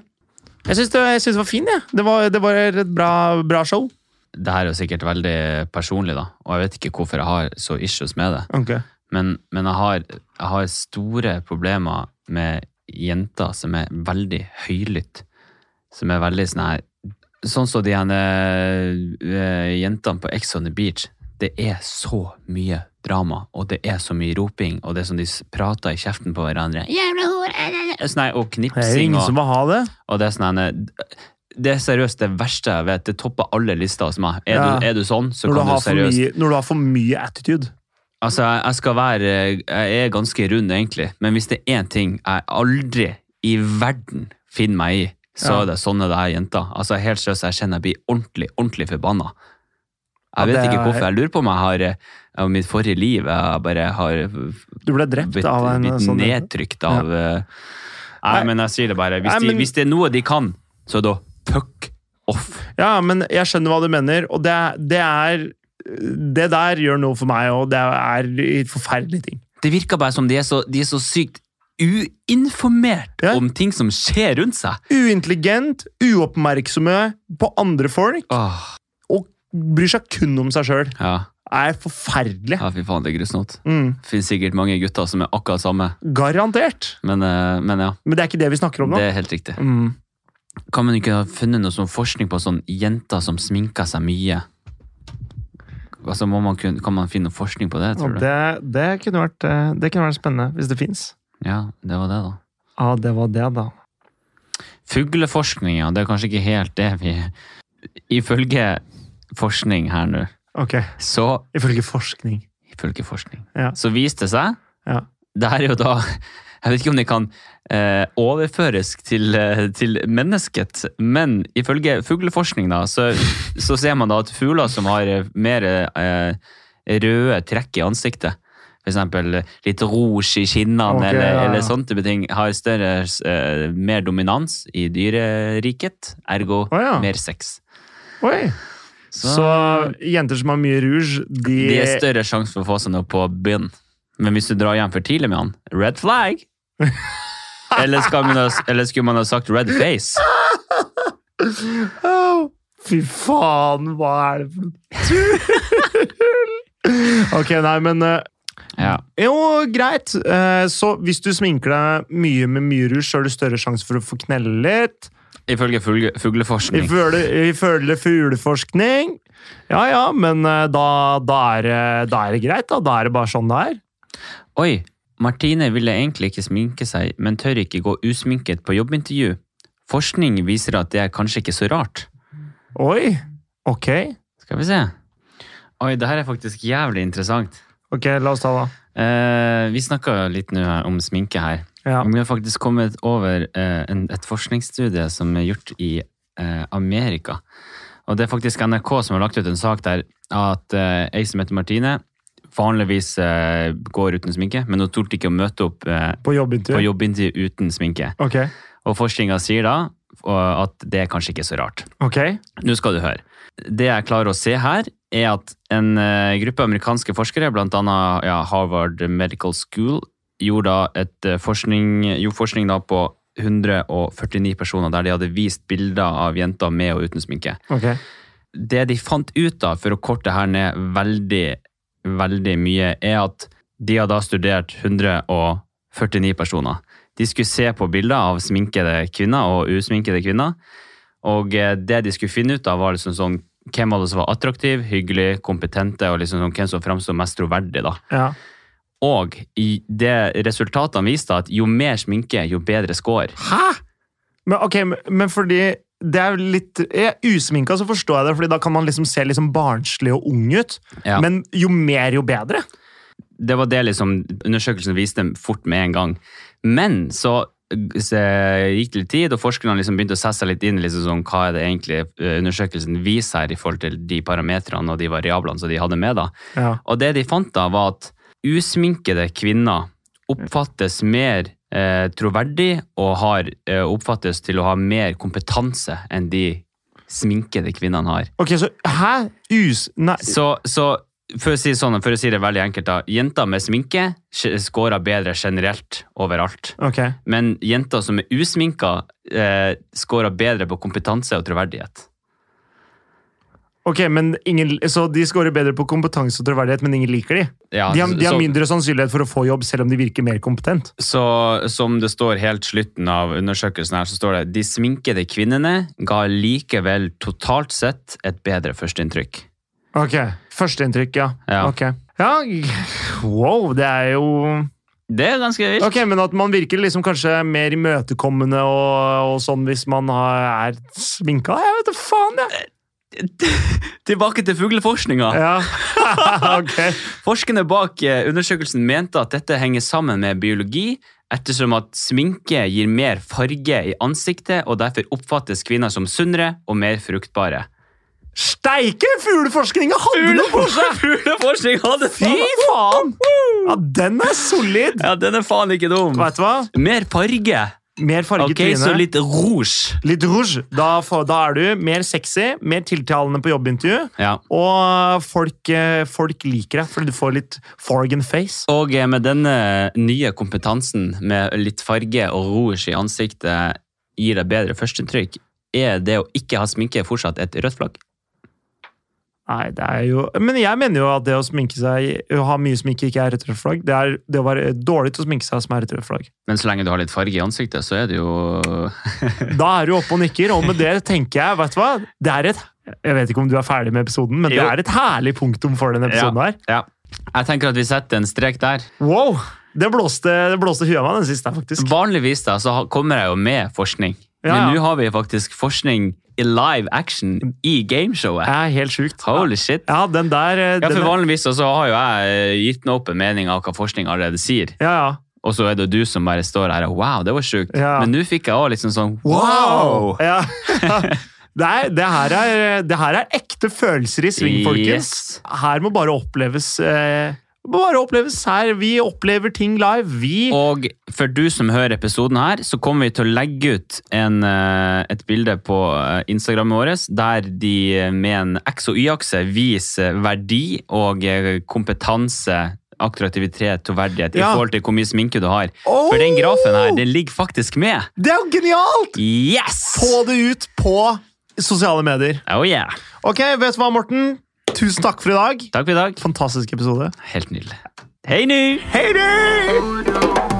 A: Jeg syns det, jeg synes det var fint, jeg. Det var, det var et bra, bra show.
B: Det her er jo sikkert veldig personlig, da, og jeg vet ikke hvorfor jeg har så issues med det. Men, men jeg, har, jeg har store problemer med jenter som er veldig høylytt. Som er veldig sånn her Sånn som de henne, eh, jentene på Ex on the Beach. Det er så mye drama, og det er så mye roping, og det er som de s- prater i kjeften på hverandre. Jævla hore, eh, eh, eh, Sånn her, og
A: Det er
B: knipsing
A: ingen
B: og
A: som vil ha det.
B: og det er sånn en- Det er seriøst det verste jeg vet. Det topper alle lister hos meg. Er,
A: Ja.
B: du, er du sånn, så
A: Når du,
B: kan du
A: har for
B: seriøst
A: mye, når du har for mye attitude.
B: Altså, jeg, jeg skal være Jeg er ganske rund, egentlig. Men hvis det er én ting jeg aldri i verden finner meg i, så
A: Ja.
B: er det sånne det er jenter. Altså, helt seriøst, jeg kjenner jeg blir ordentlig, ordentlig forbanna. Jeg
A: Ja,
B: vet
A: det
B: ikke
A: er-
B: hvorfor. Jeg lurer på om jeg har eh, om mitt forrige liv jeg bare har
A: Du ble drept
B: blitt,
A: av en
B: blitt
A: sånn
B: nedtrykt av eh, Nei,
A: Nei.
B: men jeg sier det bare. Hvis,
A: Nei, men-
B: de, hvis det er noe de kan, så da fuck off.
A: Ja, men jeg skjønner hva du mener, og det, det er Det der gjør noe for meg, og det er en forferdelig ting.
B: Det virker bare som de er så, de er så sykt uinformert
A: Ja.
B: om ting som skjer rundt seg.
A: Uintelligent, uoppmerksomme på andre folk,
B: Åh,
A: og bryr seg kun om seg sjøl.
B: ja.
A: Er forferdelig.
B: ja, fy faen, det er grusnot.
A: Mm.
B: Det finnes sikkert mange gutter som er akkurat samme,
A: Garantert.
B: men, eh, men ja,
A: Men det er ikke det vi snakker om nå.
B: det er helt riktig.
A: Mm.
B: Kan man ikke ha funnet noe sånn forskning på sånn jenter som sminker seg mye? Altså, må man kun, kan man finne noe forskning på det, tror
A: Og
B: du?
A: Det, det, kunne vært, eh, det kunne vært spennende, hvis det fins.
B: Ja, det var det da.
A: Ja, det var det, da.
B: Fugleforskning, ja, det er kanskje ikke helt det vi... Ifølge forskning her nå,
A: Ok,
B: så
A: Ifølge forskning.
B: ifølge forskning.
A: Ja.
B: Så viste det seg
A: Ja.
B: Det her er jo da Jeg vet ikke om det kan eh, overføres til, eh, til mennesket, men ifølge fugleforskning da, så, så ser man da at fugler som har eh, mer eh, røde trekk i ansiktet, for eksempel litt rouge i kinnene
A: Ok,
B: eller,
A: ja, ja.
B: eller sånne type ting, har større, eh, mer dominans i dyreriket, ergo
A: Å ja.
B: mer sex.
A: Oi! Så,
B: Så-
A: jenter som har mye rouge, de,
B: Det er større sjanse for å få seg noe på byen. Men hvis du drar hjem for tidlig med han, red flag! eller, skal man ha, eller skulle man ha sagt red face?
A: Au! Fy faen, hva er det for tull?! ok, nei, men eh,
B: Ja.
A: Jo, greit. Eh, Så hvis du sminker deg mye med mye rouge, så har du større sjanse for å få knelle litt.
B: Ifølge fugle, fugleforskning.
A: Ifølge ifølge fugleforskning. Ja ja, men eh, da, da, er, det- da er det greit, da. Da er det bare sånn det er.
B: Oi, Martine ville egentlig ikke sminke seg, men tør ikke gå usminket på jobbintervju. Forskning viser at det er kanskje ikke så rart.
A: Oi! Ok.
B: Skal vi se. Oi, det her er faktisk jævlig interessant.
A: Ok, la oss ta da.
B: Eh, vi snakka litt nå her om sminke her.
A: Ja.
B: Vi har faktisk kommet over eh, en, et forskningsstudie som er gjort i eh, Amerika. Og det er faktisk NRK som har lagt ut en sak der at eh, ei som heter Martine, vanligvis eh, går uten sminke, men hun torde ikke å møte opp eh,
A: På
B: på
A: jobbintervju.
B: jobbintervju uten sminke.
A: Ok.
B: Og forskninga sier da og at det er kanskje ikke så rart.
A: Ok.
B: Nå skal du høre. Det jeg klarer å se her, er at en eh, gruppe amerikanske forskere, blant annet ja, Harvard Medical School, gjorde da et eh, forskning, gjorde forskning da på 149 personer der de hadde vist bilder av jenter med og uten sminke.
A: Ok.
B: Det de fant ut av, for å korte her ned veldig, veldig mye, er at de hadde da studert 149 personer. De skulle se på bilder av sminkede kvinner og usminkede kvinner, Og eh, det de skulle finne ut av, var liksom sånn hvem var det som var attraktiv, hyggelig, kompetente, og liksom sånn, hvem som framsto mest troverdig. da.
A: Ja.
B: Og i det resultatene viste at jo mer sminke, jo bedre score.
A: Hæ?! Men, ok, men- men fordi det er jo litt jeg, Usminka så forstår jeg det, fordi da kan man liksom se liksom barnslig og ung ut.
B: Ja.
A: Men jo mer, jo bedre.
B: Det var det liksom undersøkelsen viste fort med en gang. Men så g- se- gikk det litt tid, og forskerne liksom begynte å sette seg litt inn liksom sånn, hva er det egentlig eh, undersøkelsen viser her i forhold til de parametrene og de variablene som de hadde med. da.
A: Ja.
B: Og det de fant da, var at usminkede kvinner oppfattes mer eh, troverdig og har, eh, oppfattes til å ha mer kompetanse enn de sminkede kvinnene har.
A: Ok, så Hæ? Us... Nei.
B: Så, så for, å si det sånn, for å si det veldig enkelt, da. Jenter med sminke sj- scorer bedre generelt overalt.
A: Ok.
B: Men jenter som er usminka, eh, scorer bedre på kompetanse og troverdighet.
A: Ok, men ingen, Så de scorer bedre på kompetanse og troverdighet, men ingen liker de?
B: Ja,
A: De har, de har
B: så-
A: mindre sannsynlighet for å få jobb, selv om de virker mer kompetent.
B: Så som det står helt slutten av undersøkelsen her, så står det de sminkede kvinnene ga likevel totalt sett et bedre førsteinntrykk.
A: Ok, Førsteinntrykk, ja.
B: Ja.
A: Ok. Ja, wow, det er jo
B: Det er ganske vilt.
A: Ok, men at man virker liksom kanskje mer imøtekommende og, og sånn hvis man har, er sminka? Jeg vet da faen, jeg!
B: Tilbake til fugleforskninga.
A: Ja. ok.
B: Forskerne bak eh, undersøkelsen mente at dette henger sammen med biologi, ettersom at sminke gir mer farge i ansiktet, og derfor oppfattes kvinner som sunnere og mer fruktbare.
A: Steike! Fugleforskninga hadde noe for seg!
B: Fugleforskning hadde
A: Fy faen! Ja, den er solid!
B: Ja, den er faen ikke dum.
A: Vet du hva?
B: Mer farge.
A: Mer farget
B: Ok, så
A: tryne.
B: litt rouge.
A: Litt rouge. Da, får- da er du mer sexy, mer tiltalende på jobbintervju.
B: Ja.
A: Og folk, eh, folk liker deg, fordi du får litt forgan face.
B: Og eh, med denne nye kompetansen med litt farge og rouge i ansiktet gir deg bedre førsteinntrykk. Er det å ikke ha sminke fortsatt et rødt flagg?
A: Nei, det er jo Men jeg mener jo at det å sminke seg, å ha mye sminke ikke er et rødt flagg. Det er det å være dårlig til å sminke seg som er et rødt flagg.
B: Men så lenge du har litt farge i ansiktet, så er det jo
A: Da er du oppe og nikker, og med det tenker jeg, vet du hva Det er et Jeg vet ikke om du er ferdig med episoden, men det
B: Jo.
A: er et herlig punktum for denne episoden her.
B: Ja. Jeg tenker at vi setter en strek der.
A: Wow! Det blåste, det blåste huet av meg den siste, her, faktisk.
B: Vanligvis da, så ha- kommer jeg jo med forskning.
A: Ja, ja.
B: Men nå har vi faktisk forskning i live action i
A: Det
B: gameshowet.
A: er helt sjukt.
B: Holy shit.
A: Ja, den der eh,
B: Ja, for
A: den,
B: Vanligvis da, så har jo jeg eh, gitt meg opp en mening av hva forskning allerede sier.
A: ja, ja.
B: Og så er det jo du som bare står her og wow, det var sjukt.
A: Ja.
B: Men nå fikk jeg òg liksom sånn wow!
A: Wow! Ja. Det, er, det, her er, det her er ekte følelser i sving, folkens.
B: Yes.
A: Her må bare oppleves eh, må bare oppleves her. Vi opplever ting live. Vi
B: Og for du som hører episoden her, så kommer vi til å legge ut en, eh, et bilde på eh, Instagrammet vårt der de eh, med en X- og Y-akse viser verdi og eh, kompetanse, attraktivitet og verdighet i
A: Ja.
B: forhold til hvor mye sminke du har.
A: Oh!
B: For den grafen her, den ligger faktisk med.
A: Det er jo genialt!
B: Yes!
A: Få det ut på sosiale medier.
B: Oh yeah.
A: Ok, vet du hva, Morten? Tusen takk for i dag.
B: Takk for i dag.
A: Fantastisk episode.
B: Helt nydelig. Hei nå!
A: Hei du!